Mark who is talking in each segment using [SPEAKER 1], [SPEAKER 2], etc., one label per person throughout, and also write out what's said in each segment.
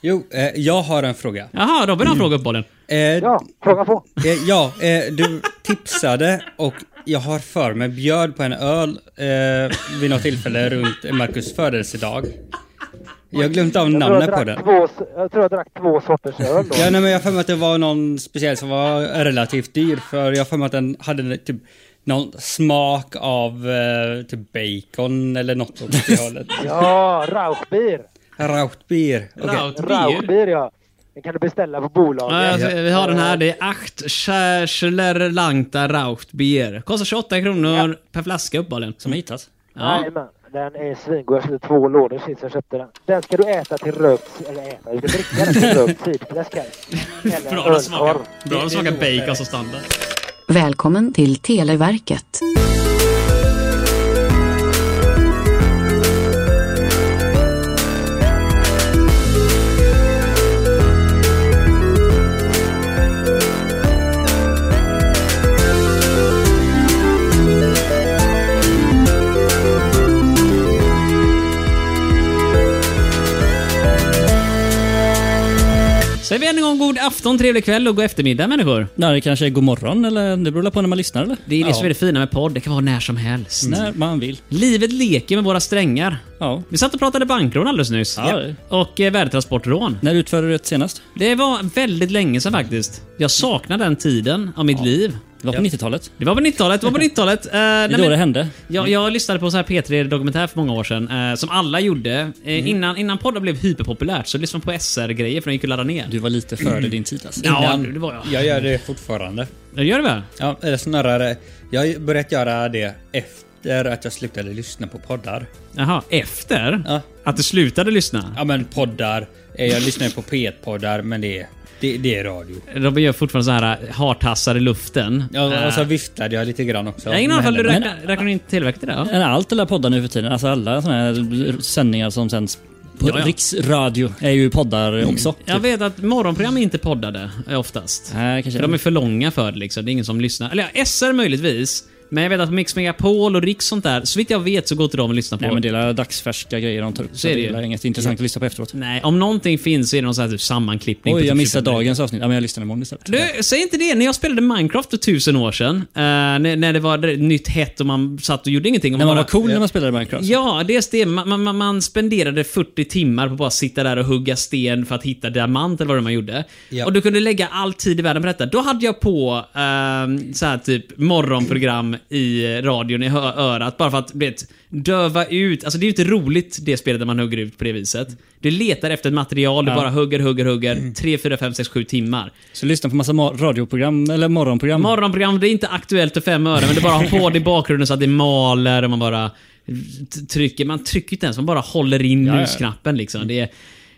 [SPEAKER 1] Jo, eh, jag har en fråga.
[SPEAKER 2] Jaha, Robin
[SPEAKER 3] Mm.
[SPEAKER 2] har en fråga på bollen.
[SPEAKER 1] Eh,
[SPEAKER 4] Ja, fråga på.
[SPEAKER 1] eh, ja eh, du tipsade och jag har för mig bjöd på en öl eh, vid något tillfälle runt Marcus födelsedag. Jag har glömt av
[SPEAKER 4] Jag tror,
[SPEAKER 1] namnet på
[SPEAKER 4] jag,
[SPEAKER 1] den.
[SPEAKER 4] drack två, jag tror jag drack två sorters öl då.
[SPEAKER 1] Ja, nej, men jag har för mig att det var någon speciell som var relativt dyr för jag har för mig att den hade typ någon smak av eh, typ bacon eller något åt det hållet.
[SPEAKER 4] Ja, Rauchbier.
[SPEAKER 1] Rautbier. Okej.
[SPEAKER 2] Rautbier.
[SPEAKER 4] Rauchbier ja. Den kan du beställa på bolaget.
[SPEAKER 2] Ja, alltså, vi har den här. Det är Acht Schärschler Langta Rauchtbier. Kostar 28 kronor per flaska uppehållen.
[SPEAKER 1] Som hittas.
[SPEAKER 2] Ja.
[SPEAKER 4] Jajamän. Den är svingod. Jag köpte två lådor sist jag köpte den. Den ska du äta till rökt... Eller äta? Du ska dricka den till rökt sidfläsk här. Eller
[SPEAKER 2] Bra, den smakar,
[SPEAKER 4] ölkorv.
[SPEAKER 2] bra, den smakar bacon som standard.
[SPEAKER 5] Välkommen till Televerket.
[SPEAKER 2] Säger vi än en gång god afton, trevlig kväll och god eftermiddag människor.
[SPEAKER 3] Nej, det kanske är god morgon eller det beror på när man lyssnar eller?
[SPEAKER 2] Det är det
[SPEAKER 3] ja. Mm.
[SPEAKER 2] som är det fina med podd. Det kan vara när som helst.
[SPEAKER 3] När man vill.
[SPEAKER 2] Livet leker med våra strängar.
[SPEAKER 3] Ja.
[SPEAKER 2] Vi satt och pratade bankrån alldeles nyss.
[SPEAKER 3] Ja.
[SPEAKER 2] Och eh, värdetransportrån.
[SPEAKER 3] När utförde du det senast?
[SPEAKER 2] Det var väldigt länge sedan faktiskt. Jag saknar den tiden av mitt liv.
[SPEAKER 3] Det var på 90-talet.
[SPEAKER 2] Det var på 90-talet, det var på 90-talet. Eh,
[SPEAKER 3] Det
[SPEAKER 2] nej,
[SPEAKER 3] är då
[SPEAKER 2] men-
[SPEAKER 3] det hände.
[SPEAKER 2] Jag, jag lyssnade på så här P3 Dokumentär för många år sedan, eh, som alla gjorde. Eh,
[SPEAKER 3] Mm.
[SPEAKER 2] innan, innan podden blev hyperpopulärt så lyssnade man på SR-grejer för de gick att ladda ner.
[SPEAKER 3] Du var lite före din tid alltså.
[SPEAKER 2] Ja,
[SPEAKER 1] Innan-
[SPEAKER 2] det var jag.
[SPEAKER 1] Jag gör det fortfarande.
[SPEAKER 2] Det gör det väl?
[SPEAKER 1] Ja, eller snarare, jag har börjat göra det efter att jag slutade lyssna på poddar.
[SPEAKER 2] Jaha, efter?
[SPEAKER 1] Ja.
[SPEAKER 2] Att du slutade lyssna?
[SPEAKER 1] Ja men poddar, eh, jag lyssnar ju på P1-poddar men det är, det, det är radio.
[SPEAKER 2] Robin gör fortfarande så här eh, hartassar i luften.
[SPEAKER 1] Ja, och så
[SPEAKER 2] Eh,
[SPEAKER 1] viftade jag lite grann också.
[SPEAKER 2] jag har ingen aning om du
[SPEAKER 1] Men-
[SPEAKER 2] räknar, räknar in tillväxt i det? Ja.
[SPEAKER 3] Men Allt eller poddar nu för tiden, alltså alla såna här sändningar som sänds på
[SPEAKER 2] Ja, Mm. ja.
[SPEAKER 3] riksradio är ju poddar också.
[SPEAKER 2] Jag vet att morgonprogram är inte poddade eh, oftast.
[SPEAKER 3] Nej, kanske
[SPEAKER 2] De är för långa för det liksom. Det är ingen som lyssnar. Eller ja, SR möjligtvis. Men jag vet att Mix Megapol och Riks sånt där, så vitt jag vet så går inte de att lyssna på.
[SPEAKER 3] Nej men det är dagsfärska grejer de tar upp. Så
[SPEAKER 2] är
[SPEAKER 3] det
[SPEAKER 2] det ju.
[SPEAKER 3] är inget intressant att lyssna på efteråt.
[SPEAKER 2] Nej, om någonting finns så är det någon sån här typ sammanklippning. på
[SPEAKER 3] Oj,
[SPEAKER 2] typ
[SPEAKER 3] jag missade
[SPEAKER 2] 20
[SPEAKER 3] dagens avsnitt. Ja, men jag lyssnar imorgon istället.
[SPEAKER 2] Du, säg inte det. När jag spelade Minecraft för tusen år sedan, eh, när, när det var ett nytt hett och man satt och gjorde ingenting. Och
[SPEAKER 3] när man
[SPEAKER 2] bara-
[SPEAKER 3] var cool när man spelade Minecraft.
[SPEAKER 2] Ja, dels det. Man, man- man, man spenderade 40 timmar på att bara sitta där och hugga sten för att hitta diamant eller vad det man gjorde.
[SPEAKER 1] Ja.
[SPEAKER 2] Och du kunde lägga all tid i världen på detta. Då hade jag på ehm, så här typ morgonprogram i radion i hö- örat bara för att du vet, döva ut. Alltså det är ju inte roligt det spelet där man hugger ut på det viset. Du letar efter ett material, du bara hugger, hugger, hugger. 3, 4, 5, 6, 7 timmar.
[SPEAKER 3] Så lyssna på massa ma- radioprogram, eller morgonprogram.
[SPEAKER 2] Morgonprogram, det är inte aktuellt för fem öre, men det bara har på det i bakgrunden så att det maler och man bara t- trycker. Man trycker inte ens, man bara håller in musknappen liksom. Det är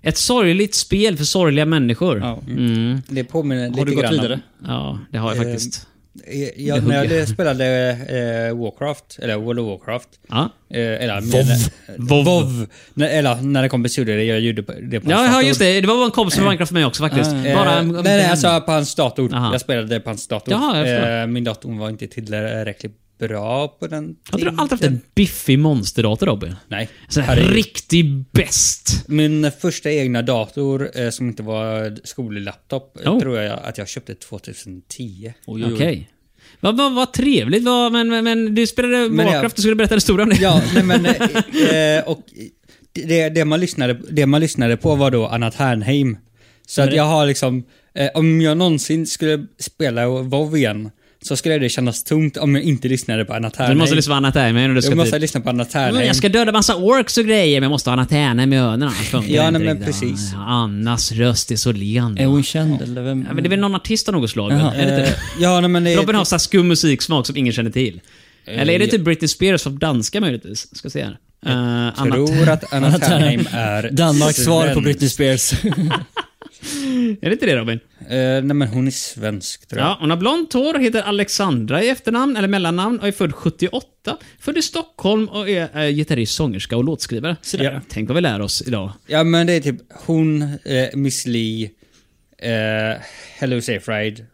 [SPEAKER 2] ett sorgligt spel för sorgliga människor. Ja,
[SPEAKER 3] ja. mm.
[SPEAKER 1] Det påminner lite
[SPEAKER 3] Har du gått
[SPEAKER 1] grann om-
[SPEAKER 3] vidare?
[SPEAKER 2] det har jag faktiskt.
[SPEAKER 1] Eh, Jag, när jag spelade eh, Warcraft, eller World of Warcraft.
[SPEAKER 2] Ja.
[SPEAKER 1] Eh, eller WoW. WoW. När, eller när det kom besudare, jag gjorde på- det på
[SPEAKER 2] Ja,
[SPEAKER 1] hans
[SPEAKER 2] ja,
[SPEAKER 1] dator.
[SPEAKER 2] just det. Det var en kompis med Minecraft för mig också faktiskt.
[SPEAKER 1] Eh,
[SPEAKER 2] Mm. Bara...
[SPEAKER 1] nej, nej, alltså på hans dator.
[SPEAKER 2] Aha.
[SPEAKER 1] Jag spelade på hans dator.
[SPEAKER 2] Jaha, jag förstår.
[SPEAKER 1] eh, min dator var inte tillräckligt bra på den
[SPEAKER 2] Har inte du alltid haft
[SPEAKER 1] tiden.
[SPEAKER 2] en biffig monsterdator Robin?
[SPEAKER 1] Nej.
[SPEAKER 2] En sån här
[SPEAKER 1] Herregud.
[SPEAKER 2] riktig bäst.
[SPEAKER 1] Min första egna dator eh, som inte var skollaptop eh,
[SPEAKER 2] Oh.
[SPEAKER 1] tror jag att jag köpte 2010.
[SPEAKER 3] Oj, oj,
[SPEAKER 2] Okej.
[SPEAKER 3] oj.
[SPEAKER 2] Vad vad- vad trevligt. Vad- men, men, men du spelade
[SPEAKER 1] Men jag-
[SPEAKER 2] Warcraft, du skulle berätta en historia om det.
[SPEAKER 1] Ja, nej men... eh, Eh, och det, det, man lyssnade, det man lyssnade på var då Anna Ternheim. Så att jag har liksom... Eh, om jag någonsin skulle spela WoW igen så skulle det kännas tungt om jag inte lyssnade på Anna Ternheim.
[SPEAKER 2] Du måste lyssna på Anna Ternheim när du ska
[SPEAKER 1] jag måste
[SPEAKER 2] typ-
[SPEAKER 1] lyssna på Anna Ternheim.
[SPEAKER 2] Men jag ska döda massa orks och grejer, men jag måste ha Anna Ternheim i öronen annars funkar
[SPEAKER 1] Ja,
[SPEAKER 2] det inte
[SPEAKER 1] nej, men
[SPEAKER 2] riktigt.
[SPEAKER 1] precis.
[SPEAKER 2] Ja, Annas röst är så len.
[SPEAKER 3] Är
[SPEAKER 2] Ja,
[SPEAKER 3] hon känd eller vem?
[SPEAKER 2] men det är väl någon artist av något slag? Är det inte
[SPEAKER 1] Eh,
[SPEAKER 2] det?
[SPEAKER 1] ja, nej, men det,
[SPEAKER 2] Robin har så här skum musiksmak som ingen känner till.
[SPEAKER 1] Eh,
[SPEAKER 2] Eller är det typ Britney Spears från danska möjligtvis? Ska se här. Eh, Anna
[SPEAKER 1] tror att Anna Ternheim är...
[SPEAKER 3] Danmarks svar på
[SPEAKER 1] svensk.
[SPEAKER 3] Britney Spears.
[SPEAKER 2] Är det inte det Robin?
[SPEAKER 1] Eh, nej men hon är svensk tror jag.
[SPEAKER 2] Ja, hon har blont hår, heter Alexandra i efternamn, eller mellannamn, och är född 78. Född i Stockholm och är eh, gitarrist, sångerska och låtskrivare.
[SPEAKER 3] där.
[SPEAKER 2] Tänk vad vi lär oss idag.
[SPEAKER 1] Ja men det är typ hon, eh, Miss Li, eh, Hello Safe Ride.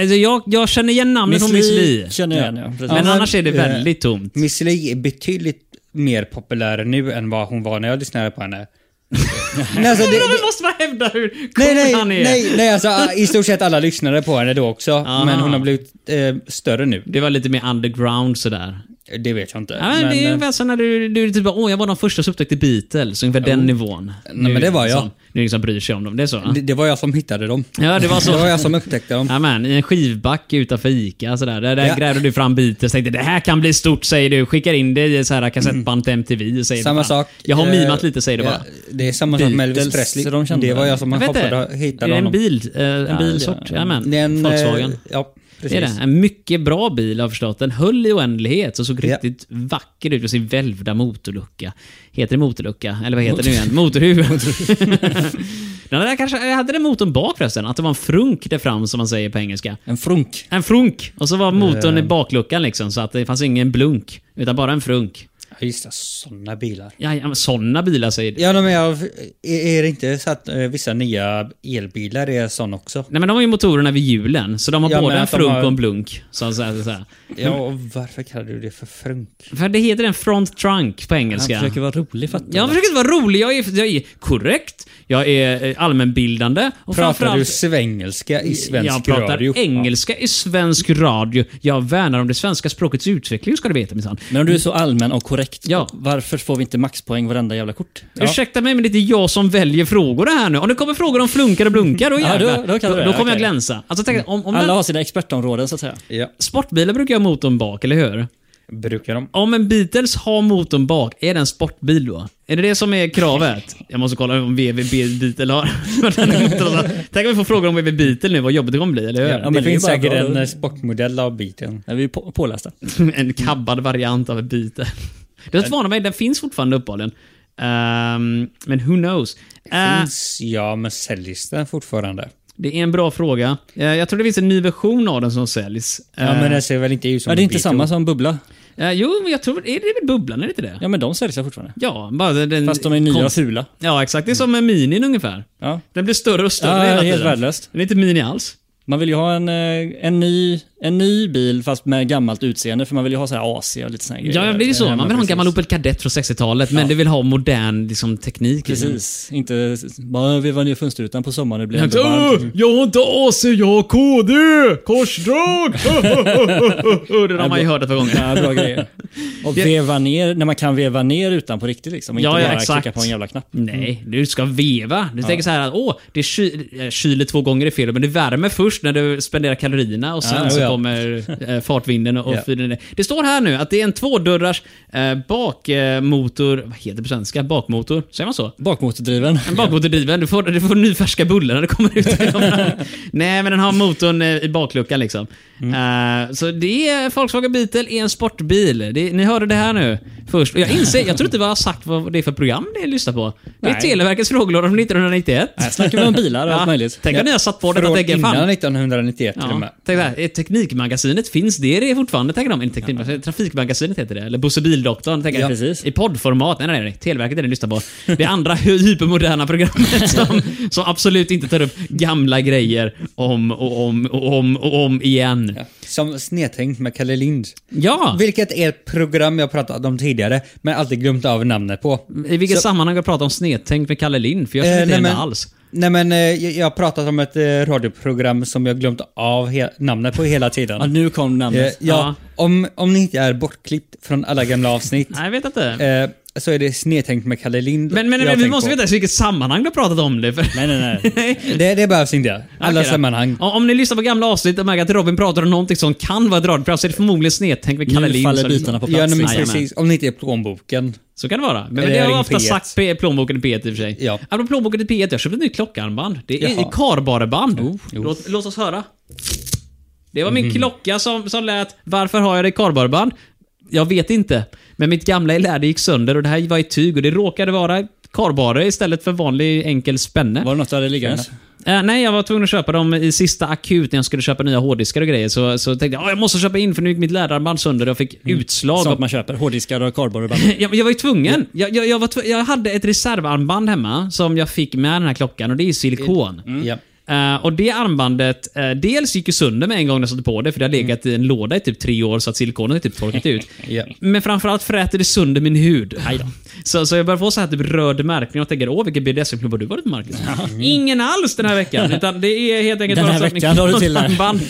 [SPEAKER 2] Alltså, jag, jag känner igen namnet från Miss Li.
[SPEAKER 3] känner jag igen, ja. Precis.
[SPEAKER 2] Men
[SPEAKER 1] men,
[SPEAKER 2] annars är det
[SPEAKER 1] eh,
[SPEAKER 2] väldigt tomt.
[SPEAKER 1] Miss Li är betydligt mer populär nu än vad hon var när jag lyssnade på henne. Nej, alltså, det,
[SPEAKER 2] Men
[SPEAKER 1] det,
[SPEAKER 2] vi måste man hävda hur cool
[SPEAKER 1] nej, nej,
[SPEAKER 2] han är.
[SPEAKER 1] nej, nej, alltså i stort sett alla lyssnade på henne då också.
[SPEAKER 2] Aha.
[SPEAKER 1] Men hon har blivit eh, större nu.
[SPEAKER 2] Det var lite mer underground sådär.
[SPEAKER 1] Det vet jag inte.
[SPEAKER 2] Ja, men, det är
[SPEAKER 1] eh,
[SPEAKER 2] ungefär som när du, du är typ bara, åh, jag var den första som upptäckte Beatles. Ungefär den nivån.
[SPEAKER 1] men det var jag.
[SPEAKER 2] Som, nu liksom bryr sig om dem. Det är så? va?
[SPEAKER 1] det, det var jag som hittade dem.
[SPEAKER 2] Ja, det var så.
[SPEAKER 1] Det var jag som upptäckte dem.
[SPEAKER 2] Ja, men, I en skivback utanför Ica sådär. Där, där
[SPEAKER 1] Ja.
[SPEAKER 2] grävde du fram Beatles tänkte det här kan bli stort säger du. Skickar in det i så här kassettband till MTV och säger
[SPEAKER 1] Samma
[SPEAKER 2] "Fan,
[SPEAKER 1] sak.
[SPEAKER 2] Jag har
[SPEAKER 1] eh,
[SPEAKER 2] mimat lite säger du
[SPEAKER 1] ja,
[SPEAKER 2] bara.
[SPEAKER 1] Det är samma sak med Elvis
[SPEAKER 3] Beatles,
[SPEAKER 1] Presley.
[SPEAKER 3] de kände
[SPEAKER 1] det var jag som
[SPEAKER 2] Jag vet
[SPEAKER 1] hoppade och
[SPEAKER 2] inte. Är
[SPEAKER 1] hittade
[SPEAKER 2] det en
[SPEAKER 1] honom.
[SPEAKER 2] bil? eh, En
[SPEAKER 3] Ja,
[SPEAKER 2] bilsort?
[SPEAKER 3] det är-
[SPEAKER 2] Ja, men.
[SPEAKER 1] Det är en, eh,
[SPEAKER 2] Volkswagen.
[SPEAKER 1] Ja,
[SPEAKER 2] Det
[SPEAKER 1] precis.
[SPEAKER 2] är det. En mycket bra bil har jag förstått. Den höll i oändlighet och såg
[SPEAKER 1] Ja.
[SPEAKER 2] riktigt vacker ut med sin välvda motorlucka. Heter det motorlucka? Eller vad heter det nu igen? Motorhuvud. den hade kanske, hade den motorn bak förresten? Att det var en frunk där fram som man säger på engelska.
[SPEAKER 3] En frunk.
[SPEAKER 2] En frunk! Och så var motorn i
[SPEAKER 1] Eh.
[SPEAKER 2] bakluckan liksom, så att det fanns ingen blunk. Utan bara en frunk.
[SPEAKER 1] Jag gissar sådana bilar.
[SPEAKER 2] Ja, ja, men såna bilar säger det.
[SPEAKER 1] Ja, men jag, är är det inte så att eh, vissa nya elbilar är sådana också?
[SPEAKER 2] Nej men de har ju motorerna vid hjulen, så de har
[SPEAKER 1] Ja,
[SPEAKER 2] både
[SPEAKER 1] men
[SPEAKER 2] en
[SPEAKER 1] att de
[SPEAKER 2] frunk
[SPEAKER 1] har-
[SPEAKER 2] och en blunk. Så, så, så, så.
[SPEAKER 1] Ja, och varför kallar du det för frunk?
[SPEAKER 2] För det heter en front trunk på
[SPEAKER 3] Han
[SPEAKER 2] engelska.
[SPEAKER 3] försöker vara rolig fattar
[SPEAKER 2] Jag
[SPEAKER 3] du?
[SPEAKER 2] försöker inte vara rolig, jag är, jag är korrekt, jag är eh, allmänbildande och
[SPEAKER 1] Pratar du
[SPEAKER 2] framförallt...
[SPEAKER 1] svengelska i svensk
[SPEAKER 2] jag pratar
[SPEAKER 1] radio?
[SPEAKER 2] engelska i svensk radio. Jag värnar om det svenska språkets utveckling ska du veta minsann.
[SPEAKER 3] Men om du är så allmän och korrekt,
[SPEAKER 2] Ja.
[SPEAKER 3] varför får vi inte maxpoäng varenda jävla kort?
[SPEAKER 2] Ursäkta mig, men det är inte jag som väljer frågorna här nu. Om det kommer frågor om flunkar och blunkar, då,
[SPEAKER 3] Ja,
[SPEAKER 2] jävlar,
[SPEAKER 3] då- då kan
[SPEAKER 2] då,
[SPEAKER 3] du
[SPEAKER 2] då
[SPEAKER 3] det,
[SPEAKER 2] kommer jag
[SPEAKER 3] okej.
[SPEAKER 2] glänsa. Alltså, tänk, om, om
[SPEAKER 3] Alla
[SPEAKER 2] den,
[SPEAKER 3] har sina expertområden så att säga.
[SPEAKER 1] Ja,
[SPEAKER 2] sportbilar brukar jag ha motorn bak, eller hur?
[SPEAKER 1] brukar de.
[SPEAKER 2] Om en Beatles har motorn bak, är det en sportbil då? Är det det som är kravet? Jag måste kolla om VVB Beatle har. Tänk om vi får frågor om VVB Beatle nu, vad jobbigt det kommer bli, eller hur?
[SPEAKER 1] Ja,
[SPEAKER 3] men
[SPEAKER 1] det
[SPEAKER 3] det är
[SPEAKER 1] finns
[SPEAKER 3] bara
[SPEAKER 1] säkert
[SPEAKER 3] bra.
[SPEAKER 1] en eh, sportmodell av biten.
[SPEAKER 3] Nej, vi är på, pålästa.
[SPEAKER 2] En kabbad variant av en Beatle. Det förvånar mig, den finns fortfarande uppenbarligen. Ehm, men who knows? Eh,
[SPEAKER 1] Finns, ja, men säljs den fortfarande?
[SPEAKER 2] det är en bra fråga. Eh, jag tror det finns en ny version av den som säljs.
[SPEAKER 1] Ja, men den ser väl inte ut som
[SPEAKER 3] Ja, det är
[SPEAKER 1] en
[SPEAKER 3] inte
[SPEAKER 1] Beatle?
[SPEAKER 3] samma som Bubbla.
[SPEAKER 2] Eh, jo, men jag tror... Är det väl Bubblan, är det inte det?
[SPEAKER 3] Ja, men de säljs ju fortfarande.
[SPEAKER 2] Ja, bara den...
[SPEAKER 3] Fast de är nya och
[SPEAKER 2] konst-
[SPEAKER 3] fula.
[SPEAKER 2] Ja, exakt. Det är som en minin ungefär.
[SPEAKER 3] Ja.
[SPEAKER 2] Den blir större och
[SPEAKER 3] Ja,
[SPEAKER 2] större
[SPEAKER 3] det
[SPEAKER 2] hela
[SPEAKER 3] är
[SPEAKER 2] tiden.
[SPEAKER 3] helt värdelöst.
[SPEAKER 2] Den är inte mini alls.
[SPEAKER 3] Man vill ju ha en, eh, en, ny, en ny bil fast med gammalt utseende för man vill ju ha så här AC och lite såna här
[SPEAKER 2] Ja,
[SPEAKER 3] grejer.
[SPEAKER 2] det är ju så. Man vill ha en
[SPEAKER 3] precis.
[SPEAKER 2] gammal Opel Kadett från 60-talet, men du vill ha modern liksom, teknik. liksom.
[SPEAKER 3] Precis. Inte bara veva ner fönsterrutan på sommaren det blir ändå
[SPEAKER 2] Åh,
[SPEAKER 3] varmt.
[SPEAKER 2] Jag har inte AC, jag har KD! Korsdrag! det har man ju hört ett par gånger.
[SPEAKER 3] Ja, bra grejer. Och veva ner, när man kan veva ner utan på riktigt liksom. Och
[SPEAKER 2] Ja,
[SPEAKER 3] inte
[SPEAKER 2] ja,
[SPEAKER 3] bara
[SPEAKER 2] exakt.
[SPEAKER 3] klicka på en jävla knapp.
[SPEAKER 2] Nej, du ska veva. Du tänker så här att åh, det ky eh, kyler två gånger i fel, men det värmer först när du spenderar kalorierna och sen
[SPEAKER 1] Ja,
[SPEAKER 2] så
[SPEAKER 1] ja.
[SPEAKER 2] kommer eh, fartvinden och
[SPEAKER 1] Ja.
[SPEAKER 2] fyller ner. Det står här nu att det är en tvådörrars eh, bakmotor, vad heter det på svenska? Bakmotor, säger man så?
[SPEAKER 3] Bakmotordriven.
[SPEAKER 2] En bakmotordriven. Du får, du får nyfärska bullar när det kommer ut. Nej, men den har motorn eh, i bakluckan liksom.
[SPEAKER 3] Mm.
[SPEAKER 2] Eh, så det är Volkswagen Beetle är en sportbil. Det, ni hörde det här nu först. Och jag inser, jag tror inte vad jag har sagt vad det är för program ni lyssnar på. Det är
[SPEAKER 3] Nej.
[SPEAKER 2] Televerkets frågelåda från 1991.
[SPEAKER 3] Här snackar vi om bilar och allt möjligt.
[SPEAKER 2] Tänk om ni har satt på det och
[SPEAKER 1] Från
[SPEAKER 2] tänker fan,
[SPEAKER 1] innan 1991 till och
[SPEAKER 2] Ja,
[SPEAKER 1] med.
[SPEAKER 2] tänk så här, eh, Teknikmagasinet, finns det det fortfarande? Tänker de. Inte teknikmagasinet, Trafikmagasinet heter det. Eller Bosse Bildoktorn. Tänker
[SPEAKER 3] Ja,
[SPEAKER 2] jag.
[SPEAKER 3] precis.
[SPEAKER 2] I poddformat. Nej, nej, nej. Televerket är det ni lyssnar på. Det andra hy- hypermoderna programmet som, som absolut inte tar upp gamla grejer om och om och om och om igen.
[SPEAKER 1] Som Snedtänkt med Kalle Lind.
[SPEAKER 2] Ja!
[SPEAKER 1] Vilket är ett program jag pratat om tidigare, men alltid glömt av namnet på.
[SPEAKER 2] I vilket
[SPEAKER 1] Så-
[SPEAKER 2] sammanhang har jag pratat om snedtänkt med Kalle Lind? För jag känner
[SPEAKER 1] Eh,
[SPEAKER 2] inte igen
[SPEAKER 1] nej,
[SPEAKER 2] det
[SPEAKER 1] men-
[SPEAKER 2] alls.
[SPEAKER 1] Nej men eh, jag jag har pratat om ett eh, radioprogram som jag glömt av he- namnet på hela tiden.
[SPEAKER 3] Ja, nu kom
[SPEAKER 1] Eh,
[SPEAKER 3] namnet.
[SPEAKER 1] ja, om, om ni inte är bortklippt från alla gamla avsnitt
[SPEAKER 2] Nej, jag vet inte.
[SPEAKER 1] eh, så är det Snedtänkt med Kalle Lind
[SPEAKER 2] men men,
[SPEAKER 1] jag
[SPEAKER 2] men vi
[SPEAKER 1] tänkt
[SPEAKER 2] måste
[SPEAKER 1] på.
[SPEAKER 2] veta i vilket sammanhang du har pratat om det. För...
[SPEAKER 3] Nej, nej, nej.
[SPEAKER 1] Det, det behövs inte. Alla
[SPEAKER 2] Okej då.
[SPEAKER 1] sammanhang.
[SPEAKER 2] Om, om ni lyssnar på gamla avsnitt och märker att Robin pratar om någonting som kan vara ett radioprogram så är det förmodligen snedtänkt med Kalle
[SPEAKER 3] Nu
[SPEAKER 2] Lind.
[SPEAKER 3] faller
[SPEAKER 2] så-
[SPEAKER 3] bitarna på
[SPEAKER 1] Ja,
[SPEAKER 3] plats.
[SPEAKER 1] nej, men
[SPEAKER 2] Nej, jag
[SPEAKER 1] precis. Om ni inte är plånboken.
[SPEAKER 2] Så kan det vara. Men, men
[SPEAKER 1] Eller
[SPEAKER 2] det har
[SPEAKER 1] Ring
[SPEAKER 2] jag ofta
[SPEAKER 1] P1.
[SPEAKER 2] sagt P- plånboken i P1 i och för sig.
[SPEAKER 1] Ja.
[SPEAKER 2] Apropå plånboken i P1, jag köpte ett nytt klockarmband. Det är
[SPEAKER 1] Jaha.
[SPEAKER 2] kardborreband. Låt, låt oss höra. Det var min klocka som, som lät “Varför har jag det i kardborreband?” Jag vet inte. Men mitt gamla i läder gick sönder och det här var i tyg och det råkade vara kardborre istället för vanlig enkel spänne.
[SPEAKER 3] Var det något du hade liggandes?
[SPEAKER 2] Eh, nej, jag var tvungen att köpa dem i sista akut när jag skulle köpa nya hårddiskar och grejer. Så, så tänkte jag "Ja, jag måste köpa in för nu gick mitt läderarmband sönder och jag fick utslag.
[SPEAKER 3] Sånt
[SPEAKER 2] av-
[SPEAKER 3] man köper. Hårddiskar och kardborreband.
[SPEAKER 2] jag, jag var ju tvungen. Jag, jag, jag, var tv- jag hade ett reservarmband hemma som jag fick med den här klockan och det är ju silikon.
[SPEAKER 1] Ja.
[SPEAKER 2] Eh, och det armbandet, eh, dels gick ju sönder med en gång när jag satte på det, för det har
[SPEAKER 3] Mm.
[SPEAKER 2] legat i en låda i typ tre år så att silikonet har typ torkat ut.
[SPEAKER 1] Ja.
[SPEAKER 2] Men framförallt fräter det sönder min hud. Så, så jag börjar få så här typ röd märkning och tänker åh vilken BDSM-klubba du varit Marcus. Ingen alls den här veckan. Utan det är helt enkelt
[SPEAKER 3] Den
[SPEAKER 2] bara
[SPEAKER 3] här
[SPEAKER 2] så att min
[SPEAKER 3] veckan la du till det.
[SPEAKER 2] klockarmband,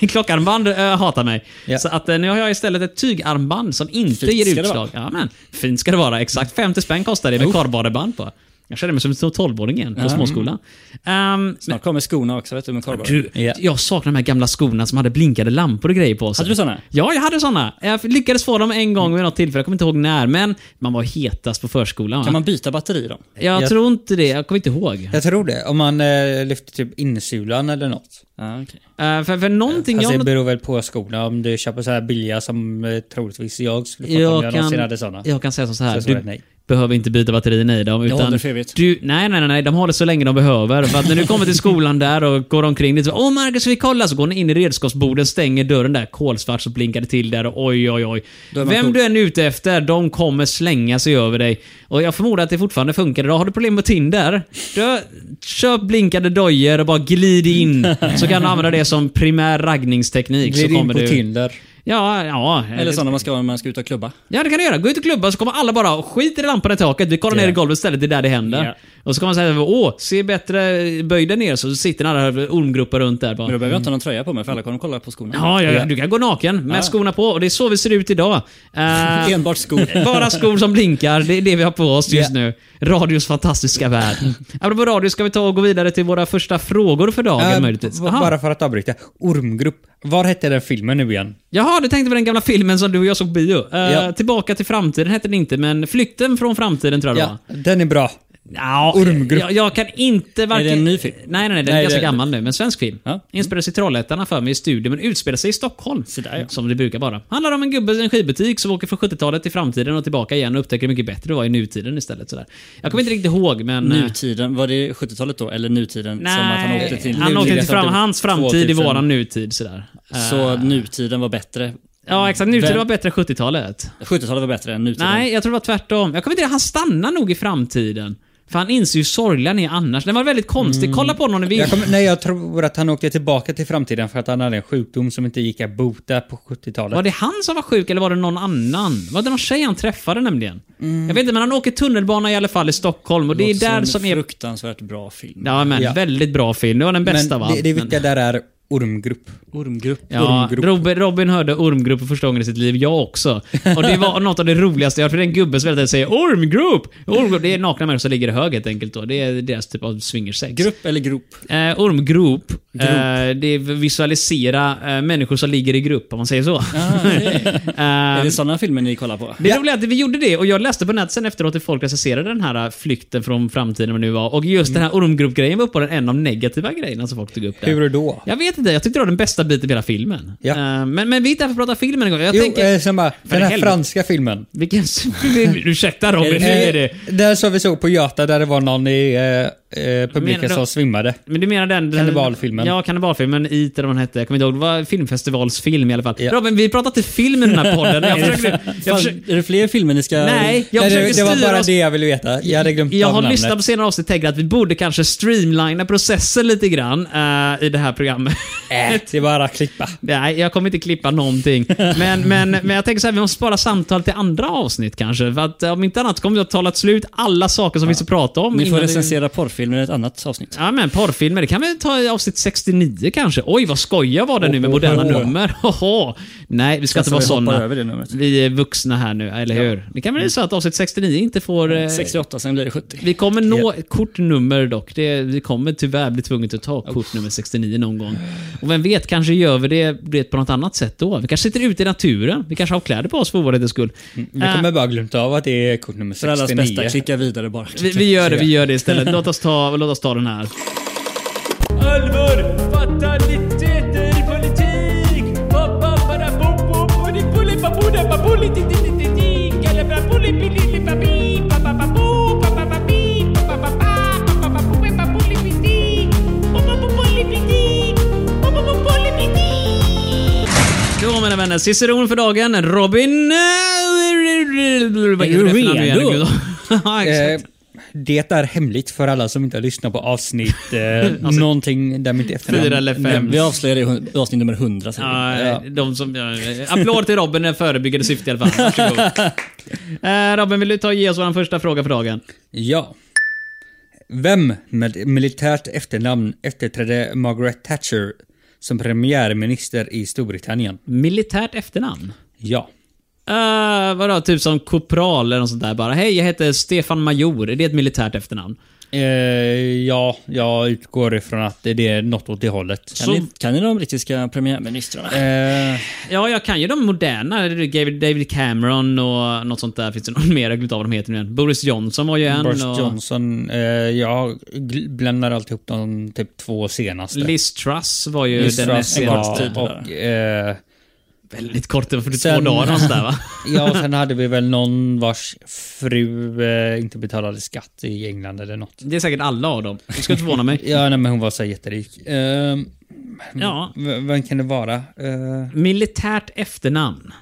[SPEAKER 2] min klockarmband eh, hatar mig.
[SPEAKER 1] Ja.
[SPEAKER 2] Så att, eh, nu har jag istället ett tygarmband som inte
[SPEAKER 3] Fint
[SPEAKER 2] ger
[SPEAKER 3] ska det Oh.
[SPEAKER 2] utslag. Ja, men, fint ska det vara, exakt. 50 spänn kostar det med kardborreband på. Jag känner mig som en stor 12-åring igen på småskolan. Ehm,
[SPEAKER 3] Snart kommer skorna också, vet du, med korvar.
[SPEAKER 2] du,
[SPEAKER 1] Ja.
[SPEAKER 2] jag saknar de här gamla skorna som hade blinkade lampor och grejer på sig.
[SPEAKER 3] Hade du såna? Mm.
[SPEAKER 2] Ja, jag hade såna. Jag lyckades få dem en gång vid något tillfälle. Jag kommer inte ihåg när, men man var hetast på förskolan. Va?
[SPEAKER 3] Kan man byta batteri då?
[SPEAKER 2] Jag,
[SPEAKER 1] Jag-
[SPEAKER 2] tror inte det. Jag kommer inte ihåg.
[SPEAKER 1] Jag tror det. Om man eh, lyfter typ insulan eller något.
[SPEAKER 3] Ja, okej.
[SPEAKER 2] Eh, för, för någonting
[SPEAKER 1] Alltså, det
[SPEAKER 2] jag...
[SPEAKER 1] beror väl på skorna. Om du köper så här billiga som eh, troligtvis jag skulle fatta om
[SPEAKER 2] Jag
[SPEAKER 1] jag någonsin
[SPEAKER 2] kan,
[SPEAKER 1] hade sådana.
[SPEAKER 2] jag kan säga som så här.
[SPEAKER 1] Så svaret
[SPEAKER 2] du
[SPEAKER 1] nej.
[SPEAKER 2] behöver inte byta batterierna i dem. Utan
[SPEAKER 3] håller för evigt.
[SPEAKER 2] Du, nej, nej, nej, nej. De håller så länge de behöver. För att när du kommer till skolan där och går omkring lite så Åh Marcus, vi kollar. Så går ni in i redskapsborden, stänger dörren där kolsvart, så blinkar det till där och oj, oj, oj.
[SPEAKER 3] är man
[SPEAKER 2] Vem
[SPEAKER 3] cool.
[SPEAKER 2] du än är ute efter, de kommer slänga sig över dig. Och jag förmodar att det fortfarande funkar idag. Har du problem med Tinder? Då, köp blinkande dojor och bara glid in. Så kan du använda det som primär raggningsteknik.
[SPEAKER 1] Glid
[SPEAKER 2] så
[SPEAKER 1] in
[SPEAKER 2] kommer
[SPEAKER 1] på
[SPEAKER 2] du...
[SPEAKER 1] Tinder.
[SPEAKER 2] Ja, ja.
[SPEAKER 3] Eller sådana man ska ha när man ska ut och klubba.
[SPEAKER 2] Ja, det kan du göra. Gå ut och klubba så kommer alla bara "Åh, skit i lamporna i taket. Vi kollar ner i golvet istället. Det är där det händer.
[SPEAKER 3] Ja.
[SPEAKER 2] Och så kommer man säga åh, se bättre böjden ner så sitter alla här ormgrupper runt där
[SPEAKER 3] Men då
[SPEAKER 2] bara.
[SPEAKER 3] behöver jag inte ha någon tröja på mig för alla kommer kolla på skorna.
[SPEAKER 2] Ja, ja, ja, du kan gå naken med skorna på och det är så vi ser ut idag. Eh,
[SPEAKER 3] Enbart skor.
[SPEAKER 2] bara skor som blinkar, det är det vi har på oss just nu. Radios fantastiska värld. Apropå radio ska vi ta och gå vidare till våra första frågor för dagen
[SPEAKER 1] Eh,
[SPEAKER 2] möjligtvis.
[SPEAKER 1] b-
[SPEAKER 2] Aha.
[SPEAKER 1] Bara för att avbryta. Ormgrupp. Var hette den filmen nu igen?
[SPEAKER 2] Jaha, du tänkte på den gamla filmen som du och jag såg på bio. Eh,
[SPEAKER 1] Ja.
[SPEAKER 2] Tillbaka till framtiden hette den inte, men Flykten från framtiden tror jag det var.
[SPEAKER 1] Ja, den är bra.
[SPEAKER 2] Ja,
[SPEAKER 1] Ormgrupp.
[SPEAKER 2] Jag, jag kan inte varken...
[SPEAKER 3] Är det en ny film?
[SPEAKER 2] Nej, nej, nej. Den är
[SPEAKER 1] Nej,
[SPEAKER 2] ganska
[SPEAKER 1] det-
[SPEAKER 2] gammal nu, men svensk film.
[SPEAKER 3] Ja.
[SPEAKER 2] Inspelades i Trollhättan för mig i studion, men utspelar sig i Stockholm. Som det brukar vara. Handlar om en gubbe i en skivbutik som åker från 70-talet till framtiden och tillbaka igen och upptäcker hur mycket bättre det var i nutiden istället. Sådär. Jag kommer inte riktigt ihåg, men... eh,
[SPEAKER 3] Nutiden, var det 70-talet då? Eller nutiden som att han åkte till
[SPEAKER 2] han
[SPEAKER 3] nutiden
[SPEAKER 2] åkte till
[SPEAKER 3] som
[SPEAKER 2] fram,
[SPEAKER 3] typ
[SPEAKER 2] hans framtid i
[SPEAKER 3] 2000.
[SPEAKER 2] våran nutid. Sådär. Eh,
[SPEAKER 3] Så nutiden var bättre?
[SPEAKER 2] ja, exakt. Nutiden
[SPEAKER 3] Vem-
[SPEAKER 2] var bättre än 70-talet.
[SPEAKER 3] 70-talet var bättre än nutiden?
[SPEAKER 2] Nej, jag tror det var tvärtom. Jag kommer inte ihåg, han stannar nog i framtiden. För han inser ju sorgliga ni är annars. Den var väldigt konstig.
[SPEAKER 3] Mm.
[SPEAKER 2] Kolla på någon i
[SPEAKER 1] Jag
[SPEAKER 2] bild.
[SPEAKER 1] kommer- nej, jag tror att han åkte tillbaka till framtiden för att han hade en sjukdom som inte gick att bota på 70-talet.
[SPEAKER 2] Var det han som var sjuk eller var det någon annan? Var det någon tjej han träffade nämligen? Jag vet inte, men han åker tunnelbana i alla fall i Stockholm och det är
[SPEAKER 3] Låter
[SPEAKER 2] där
[SPEAKER 3] en
[SPEAKER 2] som är...
[SPEAKER 3] fruktansvärt bra film.
[SPEAKER 2] Ja, men
[SPEAKER 1] Ja.
[SPEAKER 2] väldigt bra film. Det var den bästa va?
[SPEAKER 1] Men det, det viktiga där är ormgrupp.
[SPEAKER 3] Ormgrupp.
[SPEAKER 2] Ja,
[SPEAKER 1] ormgrupp.
[SPEAKER 2] Robin, Robin hörde ormgrupp för första gången i sitt liv, jag också. Och det var något av det roligaste jag hört, för det är en gubbe som hela tiden säger ormgrupp! ormgrupp. Det är nakna människor som ligger i hög helt enkelt då. Det är deras typ av swingersex.
[SPEAKER 3] Grupp eller grop?
[SPEAKER 2] Eh, ormgrop. Eh, det är visualisera eh, människor som ligger i grupp, om man säger så. Eh,
[SPEAKER 3] Är det sådana filmer ni kollar på?
[SPEAKER 2] Det roliga är att vi gjorde det och jag läste på nätet sen efteråt att folk recenserade den här äh, flykten från framtiden vad det nu var. Och just den här ormgruppgrejen var uppe på den en av de negativa grejerna som folk tog upp där.
[SPEAKER 1] Hur då?
[SPEAKER 2] Jag vet inte, jag tyckte det var den bästa biten i hela filmen.
[SPEAKER 1] Ja.
[SPEAKER 2] Eh, men, men vi är inte här för att prata filmen en gång. Jag
[SPEAKER 1] jo,
[SPEAKER 2] tänker...
[SPEAKER 1] eh, sen bara, den här
[SPEAKER 2] helvete.
[SPEAKER 1] franska filmen.
[SPEAKER 2] Vilken... Ursäkta Robin, nu är det...
[SPEAKER 1] Eh, Den som vi såg på Göta där det var någon i eh, eh,
[SPEAKER 2] Menar
[SPEAKER 1] publiken
[SPEAKER 2] du-
[SPEAKER 1] som svimmade.
[SPEAKER 2] Men du menar den... den-
[SPEAKER 1] Kannibalfilmen.
[SPEAKER 2] Ja, kannibalfilmen. It eller vad den hette. Jag kommer inte ihåg. Det var filmfestivalsfilm i alla fall.
[SPEAKER 1] Ja.
[SPEAKER 2] Robin, vi pratar inte film i den här podden. Jag försöker... Jag
[SPEAKER 3] Fan,
[SPEAKER 2] försöker
[SPEAKER 3] Är det fler filmer ni ska...
[SPEAKER 2] nej, jag
[SPEAKER 1] Nej,
[SPEAKER 2] försöker
[SPEAKER 1] det, det var
[SPEAKER 2] styra
[SPEAKER 1] bara
[SPEAKER 2] oss
[SPEAKER 1] det jag ville veta. Jag hade glömt
[SPEAKER 2] Jag
[SPEAKER 1] av
[SPEAKER 2] har
[SPEAKER 1] namnet.
[SPEAKER 2] lyssnat på senare avsnitt och tänkt att vi borde kanske streamlina processen lite grann eh, i det här programmet.
[SPEAKER 1] Äh, det är bara att klippa.
[SPEAKER 2] Nej, jag kommer inte klippa någonting. Men, men, men jag tänker så här, vi måste spara samtal till andra avsnitt kanske. För att eh, om inte annat kommer vi att ha talat slut alla saker som finns att prata om.
[SPEAKER 3] Ni får
[SPEAKER 2] innan vi-
[SPEAKER 3] recensera porrfilmer i ett annat avsnitt.
[SPEAKER 2] Ja men porrfilmer, det kan vi ta i avsnitt 69 kanske. Oj vad skoja var det nu med moderna nummer. Hoho. Nej, vi ska
[SPEAKER 3] Känns
[SPEAKER 2] inte vara
[SPEAKER 3] som vi hoppar Alltså,
[SPEAKER 2] såna.
[SPEAKER 3] över det numret.
[SPEAKER 2] Vi är vuxna här nu, eller hur? Det kan väl bli så att avsnitt 69 inte får... eh,
[SPEAKER 3] 68, sen blir det 70.
[SPEAKER 2] Vi kommer nå ett kortnummer dock. Det, vi kommer tyvärr bli tvungna att ta kortnummer 69 någon gång. Och vem vet, kanske gör vi det du vet, på något annat sätt då. Vi kanske sitter ute i naturen. Vi kanske har kläder på oss för ovanlighetens skull.
[SPEAKER 1] Mm, Vi
[SPEAKER 2] Eh,
[SPEAKER 1] kommer bara glömt av att det är kort nummer
[SPEAKER 3] För allas bästa,
[SPEAKER 1] 69.
[SPEAKER 3] klicka vidare bara.
[SPEAKER 2] Äh, vi, vi gör det, vi gör det istället. Låt oss ta, låt oss ta den här.
[SPEAKER 6] Allvar, fataliteter, politik
[SPEAKER 2] Då mina vänner, ciceron för dagen. Robin... eh, Vad heter det för namn nu igen?
[SPEAKER 1] Eh,
[SPEAKER 2] Exakt.
[SPEAKER 1] Det är hemligt för alla som inte har lyssnat på avsnitt eh, någonting där mitt efternamn
[SPEAKER 2] Fyra eller fem.
[SPEAKER 1] nämns.
[SPEAKER 3] Vi avslöjar det i hun- avsnitt nummer 100 sen.
[SPEAKER 2] Ja, eh, de som, ja, eh, applåd till Robin i förebyggande syfte i alla fall. Varsågod. Eh, Robin, vill du ta och ge oss vår första fråga för dagen?
[SPEAKER 1] Ja. Vem med militärt efternamn efterträdde Margaret Thatcher som premiärminister i Storbritannien?
[SPEAKER 2] Militärt efternamn?
[SPEAKER 1] Ja.
[SPEAKER 2] Uh, vadå, typ som kopral eller något sånt där bara. Hej, jag heter Stefan Major. Är det ett militärt efternamn?
[SPEAKER 1] Eh, ja, jag utgår ifrån att det är något åt det hållet.
[SPEAKER 3] Kan, ni, kan ni de brittiska premiärministrarna?
[SPEAKER 1] Eh,
[SPEAKER 2] Ja, jag kan ju de moderna. Det är David- David Cameron och något sånt där. Finns det någon mer? Jag har glömt av vad de heter nu igen. Boris Johnson var ju en.
[SPEAKER 1] Boris
[SPEAKER 2] och
[SPEAKER 1] Johnson, eh, jag gl- blandar alltid ihop de typ två senaste.
[SPEAKER 2] Liz Truss var ju
[SPEAKER 1] Liz
[SPEAKER 2] den
[SPEAKER 1] Truss,
[SPEAKER 2] näst
[SPEAKER 1] ja,
[SPEAKER 2] senaste.
[SPEAKER 3] tid
[SPEAKER 1] och, eh,
[SPEAKER 2] Väldigt kort, det var 42
[SPEAKER 1] Sen-
[SPEAKER 2] dagar någonstans där va?
[SPEAKER 1] ja, och sen hade vi väl någon vars fru eh, inte betalade skatt i England eller något.
[SPEAKER 2] Det är säkert alla av dem. Det skulle inte förvåna mig.
[SPEAKER 1] Ja, nej, men hon var så här jätterik. Eh,
[SPEAKER 2] Ja.
[SPEAKER 1] v- vem kan det vara? Eh,
[SPEAKER 2] Militärt efternamn.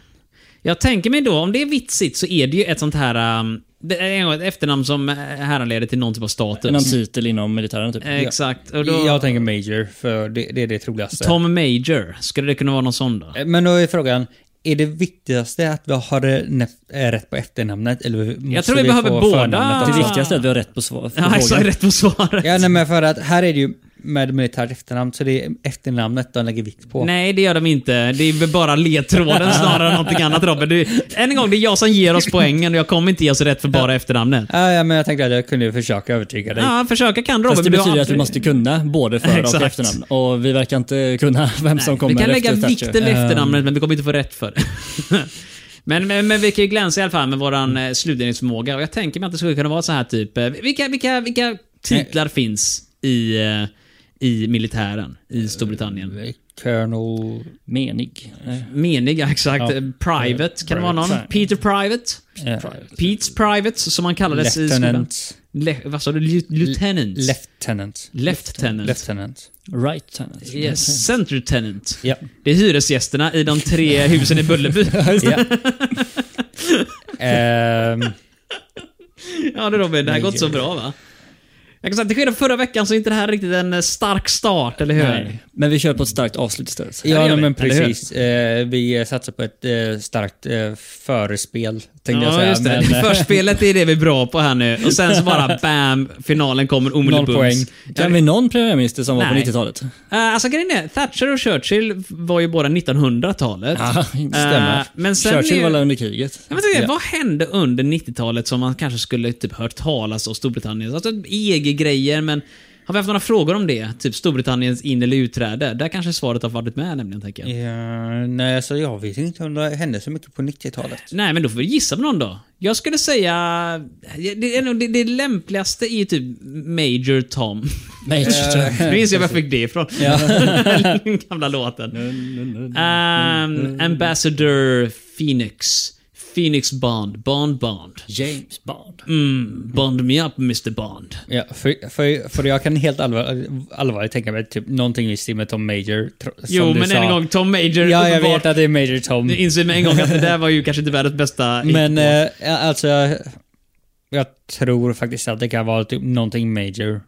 [SPEAKER 2] Jag tänker mig då, om det är vitsigt så är det ju ett sånt här... Um, det är ett efternamn som eh, härleder till någon typ av status.
[SPEAKER 3] Någon titel inom militären typ?
[SPEAKER 2] Eh, Exakt. Och då,
[SPEAKER 1] Jag tänker Major, för det, det är det troligaste.
[SPEAKER 2] Tom Major. Skulle det kunna vara någon sån då?
[SPEAKER 1] Eh, Men då är frågan, är det viktigaste att vi har det nef- eh, rätt på efternamnet? Eller måste
[SPEAKER 2] Jag tror vi behöver
[SPEAKER 1] få
[SPEAKER 2] båda.
[SPEAKER 1] förnamnet
[SPEAKER 3] Det
[SPEAKER 1] också?
[SPEAKER 3] viktigaste är att vi har rätt på svar. på
[SPEAKER 2] Ja, exakt.
[SPEAKER 3] frågan.
[SPEAKER 2] Rätt på svaret.
[SPEAKER 1] Ja, nej, men för att här är det ju med militärt efternamn, så det är efternamnet de lägger vikt på.
[SPEAKER 2] Nej, det gör de inte. Det är väl bara ledtråden snarare än någonting annat Robin. Du, än en gång, det är jag som ger oss poängen och jag kommer inte ge oss rätt för bara efternamnet.
[SPEAKER 1] Ja, ja, men jag tänkte att jag kunde försöka övertyga dig.
[SPEAKER 2] Ja, försöka kan Robin.
[SPEAKER 3] Fast det
[SPEAKER 2] men du har
[SPEAKER 3] betyder att vi
[SPEAKER 2] aldrig-
[SPEAKER 3] måste kunna både för och
[SPEAKER 2] Exakt.
[SPEAKER 3] efternamn. Och vi verkar inte kunna vem som
[SPEAKER 2] Vi
[SPEAKER 3] kommer
[SPEAKER 2] kan lägga
[SPEAKER 3] efter Eh, Ehm.
[SPEAKER 2] vikten vid efternamnet, men vi kommer inte få rätt för det. Men, men, men vi kan ju glänsa i alla fall med våran
[SPEAKER 3] Mm.
[SPEAKER 2] eh, slutledningsförmåga. Och jag tänker mig att det skulle kunna vara så här typ... eh, Vilka, vilka, vilka titlar finns i, eh, i militären i Storbritannien?
[SPEAKER 1] Colonel...
[SPEAKER 3] Menig. Nej.
[SPEAKER 2] Meniga, exakt.
[SPEAKER 1] Ja.
[SPEAKER 2] Eh, Private, kan det vara någon? Peter Private?
[SPEAKER 1] eh,
[SPEAKER 2] Pete's Private, som han kallades i skolan.
[SPEAKER 1] Lieutenant.
[SPEAKER 2] Le, vad sa du? Lieu- Lieutenant?
[SPEAKER 1] Lieutenant.
[SPEAKER 2] Lieutenant.
[SPEAKER 1] Lieutenant.
[SPEAKER 3] Right tenant.
[SPEAKER 2] Yes. Center Tenant.
[SPEAKER 1] Ja.
[SPEAKER 2] Det är hyresgästerna i de tre husen i Bullerby.
[SPEAKER 1] ja. Ehm,
[SPEAKER 2] Ja du Robin, det här
[SPEAKER 1] Nej,
[SPEAKER 2] går inte så
[SPEAKER 1] gud.
[SPEAKER 2] bra va? Jag kan säga att till skillnad från förra veckan så är inte det här riktigt en eh, stark start, eller hur?
[SPEAKER 3] Nej. Men vi kör på ett starkt avslut istället.
[SPEAKER 2] Ja, det
[SPEAKER 1] ja,
[SPEAKER 2] gör
[SPEAKER 1] nej,
[SPEAKER 2] vi.
[SPEAKER 1] men
[SPEAKER 2] Eller hur?
[SPEAKER 1] precis. Eh, vi satsar på ett eh, starkt eh, förespel, tänkte jag
[SPEAKER 2] Ja,
[SPEAKER 1] säga.
[SPEAKER 2] just det.
[SPEAKER 1] Men, eh,
[SPEAKER 2] Förspelet är det vi är bra på här nu. Och sen så bara bam, finalen kommer omedelbums.
[SPEAKER 1] Noll poäng.
[SPEAKER 3] Kan vi någon premiärminister som var på
[SPEAKER 2] Nej.
[SPEAKER 3] 90-talet?
[SPEAKER 2] Eh, alltså grejen är, Thatcher och Churchill var ju båda 1900-talet.
[SPEAKER 3] Ja,
[SPEAKER 2] Eh,
[SPEAKER 3] stämmer.
[SPEAKER 2] men sen är
[SPEAKER 3] Churchill
[SPEAKER 2] ju-
[SPEAKER 3] var väl under kriget?
[SPEAKER 2] Jag vet inte, Vad hände under 90-talet som man kanske skulle typ hört talas om Storbritannien? Alltså EG-grejer, men har vi haft några frågor om det? Typ Storbritanniens in eller utträde? Där kanske svaret har varit med nämligen, tänker jag.
[SPEAKER 1] Ja, nej, så jag vet inte om det hände så mycket på 90-talet.
[SPEAKER 2] Nej, men då får vi gissa på någon då. Jag skulle säga... Det, är nog det, det lämpligaste är ju typ Major Tom. Eh,
[SPEAKER 3] Major Tom.
[SPEAKER 2] Nu inser jag var jag fick det ifrån. Den gamla låten. Ehm, Ambassador Phoenix. Phoenix Bond. Bond Bond.
[SPEAKER 3] James Bond.
[SPEAKER 2] Mm, bond me up Mr Bond.
[SPEAKER 1] Ja, för, för, för jag kan helt allvar, allvarligt tänka mig typ någonting i stil med Tom Major. tro- Som
[SPEAKER 2] Jo,
[SPEAKER 1] du
[SPEAKER 2] men
[SPEAKER 1] sa.
[SPEAKER 2] än en gång, Tom Major
[SPEAKER 1] Ja, jag
[SPEAKER 2] uppenbart-
[SPEAKER 1] vet att det är Major Tom.
[SPEAKER 2] Jag inser med en gång att det där var ju kanske inte världens bästa hit
[SPEAKER 1] Men
[SPEAKER 2] på.
[SPEAKER 1] eh, alltså, jag, jag tror faktiskt att det kan vara typ någonting Major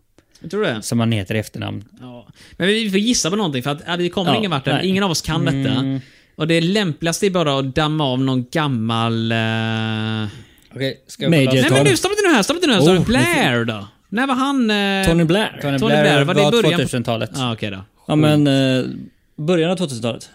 [SPEAKER 2] Tror du det?
[SPEAKER 1] som man heter i efternamn.
[SPEAKER 2] Ja. Men vi får gissa på någonting för att ja, vi kommer
[SPEAKER 3] Ja,
[SPEAKER 2] ingen vart där.
[SPEAKER 3] nej.
[SPEAKER 2] Ingen av oss kan detta. Och det lämpligaste är bara att damma av någon gammal... eh,
[SPEAKER 1] Okej, ska jag
[SPEAKER 3] Major
[SPEAKER 1] kolla?
[SPEAKER 2] Nej men du, stoppa inte nu här, stoppa inte nu här.
[SPEAKER 3] Oh,
[SPEAKER 2] Oh, Blair då? När var han... eh,
[SPEAKER 3] Tony Blair.
[SPEAKER 2] Tony
[SPEAKER 1] Tony Blair,
[SPEAKER 2] Blair, var
[SPEAKER 1] var
[SPEAKER 2] det i början på-
[SPEAKER 1] 2000-talet. Ja.
[SPEAKER 2] Ja, okej då.
[SPEAKER 3] Ja, men eh, början av 2000-talet.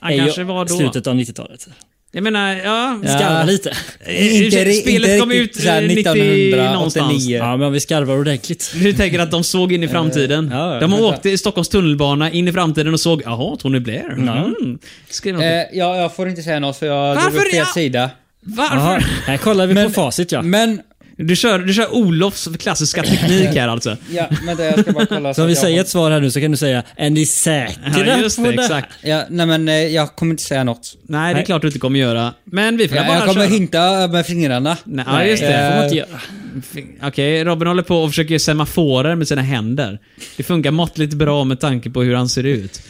[SPEAKER 2] Han
[SPEAKER 3] Är
[SPEAKER 2] kanske
[SPEAKER 3] ju
[SPEAKER 2] var då.
[SPEAKER 3] Slutet av 90-talet.
[SPEAKER 2] Jag menar, ja...
[SPEAKER 3] Skarva lite.
[SPEAKER 1] Inte,
[SPEAKER 2] Spelet
[SPEAKER 1] inte
[SPEAKER 2] kom
[SPEAKER 1] riktigt
[SPEAKER 2] ut,
[SPEAKER 1] såhär
[SPEAKER 2] eh, 90 någonstans.
[SPEAKER 1] 1989.
[SPEAKER 3] Ja, men vi skarvar ordentligt.
[SPEAKER 2] Du tänker att de såg in i framtiden?
[SPEAKER 3] ja, ja.
[SPEAKER 2] de har
[SPEAKER 1] Vänta.
[SPEAKER 2] åkt i Stockholms tunnelbana in i framtiden och såg “Jaha, Tony Blair?” mm. Skrev någonting.
[SPEAKER 1] Eh, ja, jag får inte säga något för jag drog
[SPEAKER 2] Varför
[SPEAKER 1] upp fel
[SPEAKER 2] jag-
[SPEAKER 1] sida.
[SPEAKER 3] Jaha,
[SPEAKER 2] Varför?
[SPEAKER 3] här kollar vi på facit ja.
[SPEAKER 1] Men,
[SPEAKER 2] Du kör, du kör Olofs klassiska teknik här alltså.
[SPEAKER 1] ja, vänta jag ska bara kolla.
[SPEAKER 3] Så om vi
[SPEAKER 1] jag
[SPEAKER 3] säger
[SPEAKER 1] har-
[SPEAKER 3] ett svar här nu så kan du säga “Är ni säkra
[SPEAKER 2] Ja, just
[SPEAKER 3] på
[SPEAKER 2] det,
[SPEAKER 3] det?”
[SPEAKER 2] exakt.
[SPEAKER 1] Ja, nej men eh, jag kommer inte säga något.
[SPEAKER 2] Nej, det är klart du inte kommer göra. Men vi får
[SPEAKER 1] Jag,
[SPEAKER 2] bara
[SPEAKER 1] jag kommer
[SPEAKER 2] köra.
[SPEAKER 1] hinta med fingrarna.
[SPEAKER 2] Nej, ja, just det.
[SPEAKER 3] Det får man
[SPEAKER 1] Eh,
[SPEAKER 3] inte göra.
[SPEAKER 2] F- Okej, Robin håller på och försöker göra semaforer med sina händer. Det funkar måttligt bra med tanke på hur han ser ut.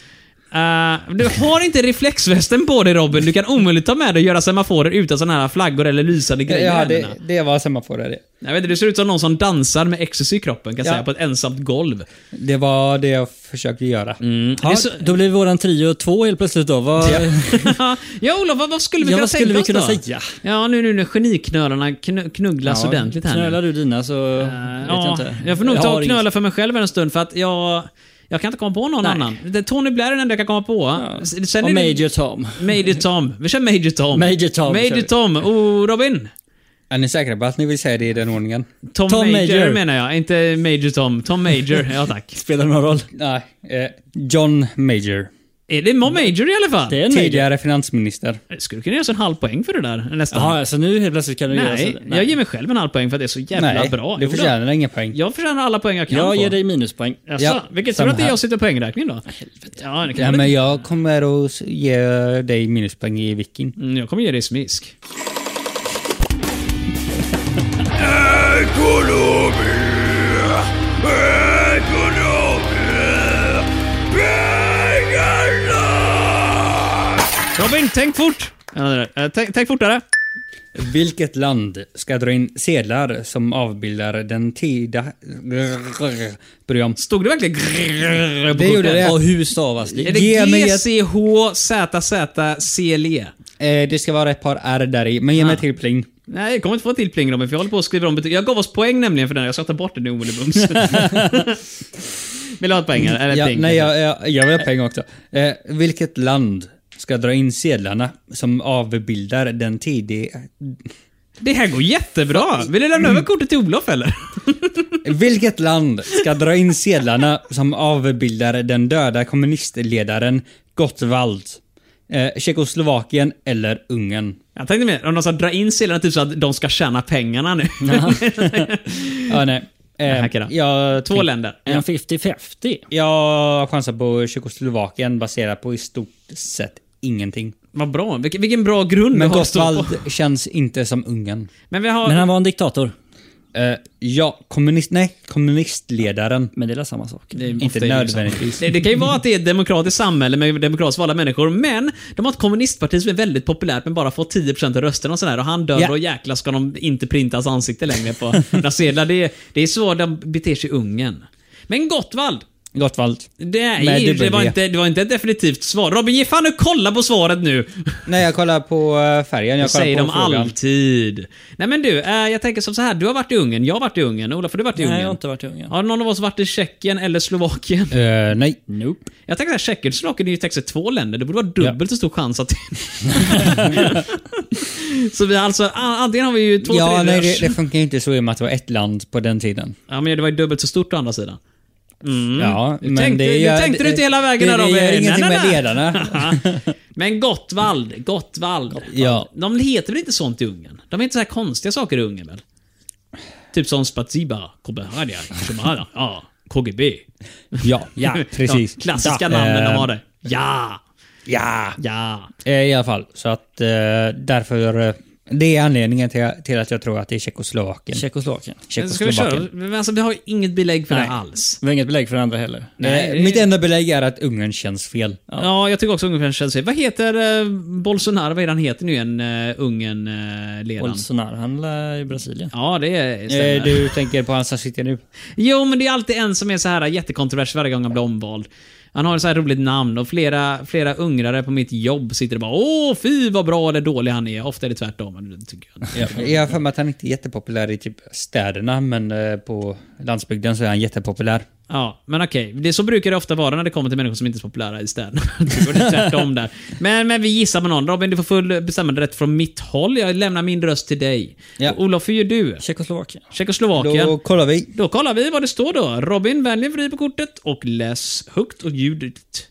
[SPEAKER 2] Eh, du har inte reflexvästen på dig Robin. Du kan omöjligt ta med dig och göra semaforer utan sådana här flaggor eller lysande grejer i
[SPEAKER 1] Eh, Ja,
[SPEAKER 2] händerna.
[SPEAKER 1] det, det var semaforer det.
[SPEAKER 2] Jag vet inte, du ser ut som någon som dansar med ecstasy i kroppen, kan jag
[SPEAKER 1] Ja.
[SPEAKER 2] säga, på ett ensamt golv.
[SPEAKER 1] Det var det jag försökte göra.
[SPEAKER 2] Det är
[SPEAKER 3] Ja,
[SPEAKER 2] så-
[SPEAKER 3] då blir våran trio två helt plötsligt då. Vad, ja,
[SPEAKER 2] ja, Olof, vad, vad skulle vi kunna
[SPEAKER 3] vad skulle
[SPEAKER 2] tänka
[SPEAKER 3] vi
[SPEAKER 2] oss
[SPEAKER 3] kunna
[SPEAKER 2] då?
[SPEAKER 3] säga?
[SPEAKER 2] Ja, nu, nu när geniknölarna kn- knugglas
[SPEAKER 3] Ja,
[SPEAKER 2] ordentligt här nu.
[SPEAKER 3] Knölar du dina så
[SPEAKER 2] Eh,
[SPEAKER 3] vet jag
[SPEAKER 2] ja,
[SPEAKER 3] inte.
[SPEAKER 2] jag får nog
[SPEAKER 3] Jag
[SPEAKER 2] ta
[SPEAKER 3] har
[SPEAKER 2] och
[SPEAKER 3] inget-
[SPEAKER 2] knöla för mig själv en stund för att jag... Jag kan inte komma på någon
[SPEAKER 3] Nej.
[SPEAKER 2] annan. Det- Tony Blair är den enda jag kan komma på. Ja. Sen
[SPEAKER 3] Och
[SPEAKER 2] är det-
[SPEAKER 3] Major Tom.
[SPEAKER 2] Major Tom. Vi kör Major Tom.
[SPEAKER 3] Major Tom kör
[SPEAKER 2] Major
[SPEAKER 3] vi.
[SPEAKER 2] Tom. Oh, Robin.
[SPEAKER 1] Är ni säkra på att ni vill säga det i den ordningen?
[SPEAKER 2] Tom,
[SPEAKER 3] Tom
[SPEAKER 2] Major,
[SPEAKER 3] Major.
[SPEAKER 2] menar jag. Inte Major Tom. Tom Major. Ja, tack.
[SPEAKER 3] Spelar det någon roll?
[SPEAKER 1] Nej. Eh, John Major.
[SPEAKER 2] är det Mo Major i alla fall?
[SPEAKER 3] Det är en Major.
[SPEAKER 1] Tidigare finansminister.
[SPEAKER 2] Jag skulle kunna göra så en halv poäng för det där. Nästan.
[SPEAKER 3] Jaha, så nu helt plötsligt kan du göra
[SPEAKER 2] nej,
[SPEAKER 3] så?
[SPEAKER 2] jag ger mig själv en halv poäng för att det är så jävla
[SPEAKER 1] Nej,
[SPEAKER 2] bra.
[SPEAKER 1] du
[SPEAKER 2] Jo då.
[SPEAKER 1] förtjänar ingen poäng.
[SPEAKER 2] Jag förtjänar alla poäng jag kan
[SPEAKER 3] Jag
[SPEAKER 2] få.
[SPEAKER 3] ger dig minuspoäng.
[SPEAKER 2] Jaså,
[SPEAKER 1] Ja,
[SPEAKER 2] vilket tur
[SPEAKER 1] samma
[SPEAKER 2] att det är
[SPEAKER 1] här.
[SPEAKER 2] jag sitter på poängräkningen då. Ja, det kan
[SPEAKER 1] Ja,
[SPEAKER 2] väl-
[SPEAKER 1] men jag kommer att ge dig minuspoäng i Viking.
[SPEAKER 2] Mm, jag kommer ge dig smisk. Robin, tänk fort! Ja, det där. Eh, Tänk, tänk fortare.
[SPEAKER 1] Vilket land ska dra in sedlar som avbildar den tida... Bryr jag om.
[SPEAKER 2] Stod det verkligen grrrr på
[SPEAKER 1] Det gjorde
[SPEAKER 2] kortet?
[SPEAKER 1] det.
[SPEAKER 3] Och hur stavas det?
[SPEAKER 2] Är det
[SPEAKER 1] Ge mig ett-
[SPEAKER 2] G-C-H-Z-Z-C-L-E?
[SPEAKER 1] Eh, det ska vara ett par R där i, men ge mig
[SPEAKER 2] Ah.
[SPEAKER 1] till pling.
[SPEAKER 2] Nej, jag kommer inte få en till pling Robin, för jag håller på att skriva om betyg. Jag gav oss poäng nämligen för den, jag ska ta bort den i omedelbums. Vill du ha ett poäng här? Eller
[SPEAKER 1] Ja,
[SPEAKER 2] ett pling?
[SPEAKER 1] nej, jag, jag, jag vill ha pengar också. Eh, vilket land ska dra in sedlarna som avbildar den tidiga...
[SPEAKER 2] Det här går jättebra! Vill du lämna över kortet till Olof eller?
[SPEAKER 1] Vilket land ska dra in sedlarna som avbildar den döda kommunistledaren Gottwald? Eh, Tjeckoslovakien eller Ungern?
[SPEAKER 2] Jag tänkte mer om de ska dra in sedlarna typ så att de ska tjäna pengarna nu.
[SPEAKER 1] Ja, nej. eh,
[SPEAKER 2] Jag hackar då.
[SPEAKER 1] jag
[SPEAKER 2] Två
[SPEAKER 1] tänk-
[SPEAKER 2] länder.
[SPEAKER 3] En 50-50?
[SPEAKER 1] Jag chansar på Tjeckoslovakien baserat på i stort sett ingenting.
[SPEAKER 2] Vad bra. Vilken, vilken bra grund
[SPEAKER 1] Men
[SPEAKER 2] vi har att stå på.
[SPEAKER 1] Gottwald känns inte som Ungern.
[SPEAKER 2] Men vi har...
[SPEAKER 3] Men han var en diktator.
[SPEAKER 1] Eh, ja, kommunist... Nej, kommunistledaren.
[SPEAKER 3] Men det är väl samma sak?
[SPEAKER 2] Det är ofta
[SPEAKER 1] Inte
[SPEAKER 2] det
[SPEAKER 1] nödvändigtvis.
[SPEAKER 2] liksom. Det, det kan ju vara att det är ett demokratiskt samhälle med demokratiskt valda människor, men de har ett kommunistparti som är väldigt populärt men bara får 10% av rösterna och sådär. Och han dör
[SPEAKER 1] Ja.
[SPEAKER 2] och jäkla ska de inte printa hans ansikte längre på några sedlar. Det, är- det är så de beter sig i Ungern. Men Gottwald,
[SPEAKER 1] Gottwald.
[SPEAKER 2] det, är
[SPEAKER 1] Med
[SPEAKER 2] ju, det,
[SPEAKER 1] dubbel E.
[SPEAKER 2] var
[SPEAKER 1] D.
[SPEAKER 2] inte, det var inte ett definitivt svar. Robin, ge fan och kolla på svaret nu!
[SPEAKER 1] Nej, jag kollar på eh, färgen.
[SPEAKER 2] Det
[SPEAKER 1] Jag kollar
[SPEAKER 2] säger
[SPEAKER 1] på
[SPEAKER 2] de
[SPEAKER 1] frågan.
[SPEAKER 2] alltid. Nej men du, eh, jag tänker som så här. Du har varit i Ungern, jag har varit i Ungern. Olof, har du varit i Ungern?
[SPEAKER 3] Nej, jag har inte varit i Ungern.
[SPEAKER 2] Har någon av oss varit i Tjeckien eller Slovakien?
[SPEAKER 1] Eh, nej.
[SPEAKER 3] Nope.
[SPEAKER 2] Jag tänker att Tjeckien och Slovakien är ju textet två länder. Det borde vara dubbelt så stor chans att... så vi har alltså, a- antingen har vi ju två
[SPEAKER 1] Ja, nej,
[SPEAKER 2] tredjedels...
[SPEAKER 1] det, det funkar ju inte så i och med att det var ett land på den tiden.
[SPEAKER 2] Ja, men det var ju dubbelt så stort å andra sidan.
[SPEAKER 1] Ja,
[SPEAKER 2] Mm. Du tänkte,
[SPEAKER 1] det
[SPEAKER 2] du
[SPEAKER 1] gör-
[SPEAKER 2] tänkte du
[SPEAKER 1] det-
[SPEAKER 2] inte hela vägen
[SPEAKER 1] det,
[SPEAKER 2] där
[SPEAKER 1] det,
[SPEAKER 2] Robin?
[SPEAKER 1] gör
[SPEAKER 2] Nej,
[SPEAKER 1] ingenting
[SPEAKER 2] nej,
[SPEAKER 1] med
[SPEAKER 2] nej.
[SPEAKER 1] ledarna.
[SPEAKER 2] Men Gottwald, Gottwald.
[SPEAKER 1] Ja.
[SPEAKER 2] De heter väl inte sånt i Ungern? De är inte så här konstiga saker i Ungern väl? Typ som Spatsiba, Kobehadia, Shemara, ja, KGB.
[SPEAKER 1] Ja, ja, precis.
[SPEAKER 2] De klassiska
[SPEAKER 1] Ja.
[SPEAKER 2] namnen de
[SPEAKER 1] Eh,
[SPEAKER 2] har det. Ja,
[SPEAKER 1] Ja.
[SPEAKER 2] ja.
[SPEAKER 1] Eh, I alla fall, så att eh, därför... eh, Det är anledningen till, till att jag tror att det är Tjeckoslovakien. Eh,
[SPEAKER 3] Tjeckoslovakien.
[SPEAKER 2] Men Ska vi köra? Men alltså, vi har ju inget belägg för det alls.
[SPEAKER 3] Vi har inget belägg för det andra heller.
[SPEAKER 1] Nej,
[SPEAKER 2] Nej.
[SPEAKER 1] mitt enda belägg är att Ungern känns fel.
[SPEAKER 2] Ja. jag tycker också ungefär känns det. Vad heter eh, Bolsonaro? Vad är det han heter nu igen? Uh, Ungern-ledaren?
[SPEAKER 3] Bolsonaro, han lär i Brasilien.
[SPEAKER 2] ja, det är
[SPEAKER 1] Eh,
[SPEAKER 2] stämmer.
[SPEAKER 1] du tänker på han som sitter nu?
[SPEAKER 2] Jo, men det är alltid en som är så här jättekontroversiell varje gång han blir omvald. Han har ett så här roligt namn och flera, flera ungrare på mitt jobb sitter och bara Åh, fy vad bra eller dålig han är. Ofta är det tvärtom. men det Tycker jag.
[SPEAKER 1] Ja, jag har för mig att han inte är jättepopulär i typ städerna, men eh, på landsbygden så är han jättepopulär.
[SPEAKER 2] Ja, men okej. Det, så brukar det ofta vara när det kommer till människor som inte är så populära i städerna. Det går det tvärtom där. Men, men vi gissar på någon. Robin, du får full bestämmande rätt från mitt håll. Jag lämnar min röst till dig.
[SPEAKER 1] Ja.
[SPEAKER 2] Och Olof, hur gör du?
[SPEAKER 3] Tjeckoslovakien.
[SPEAKER 2] Tjeckoslovakien.
[SPEAKER 1] Då
[SPEAKER 2] Då...
[SPEAKER 1] kollar vi.
[SPEAKER 2] kollar vi vad det står då. Robin, vänlig vrid på kortet och läs högt och ljudet.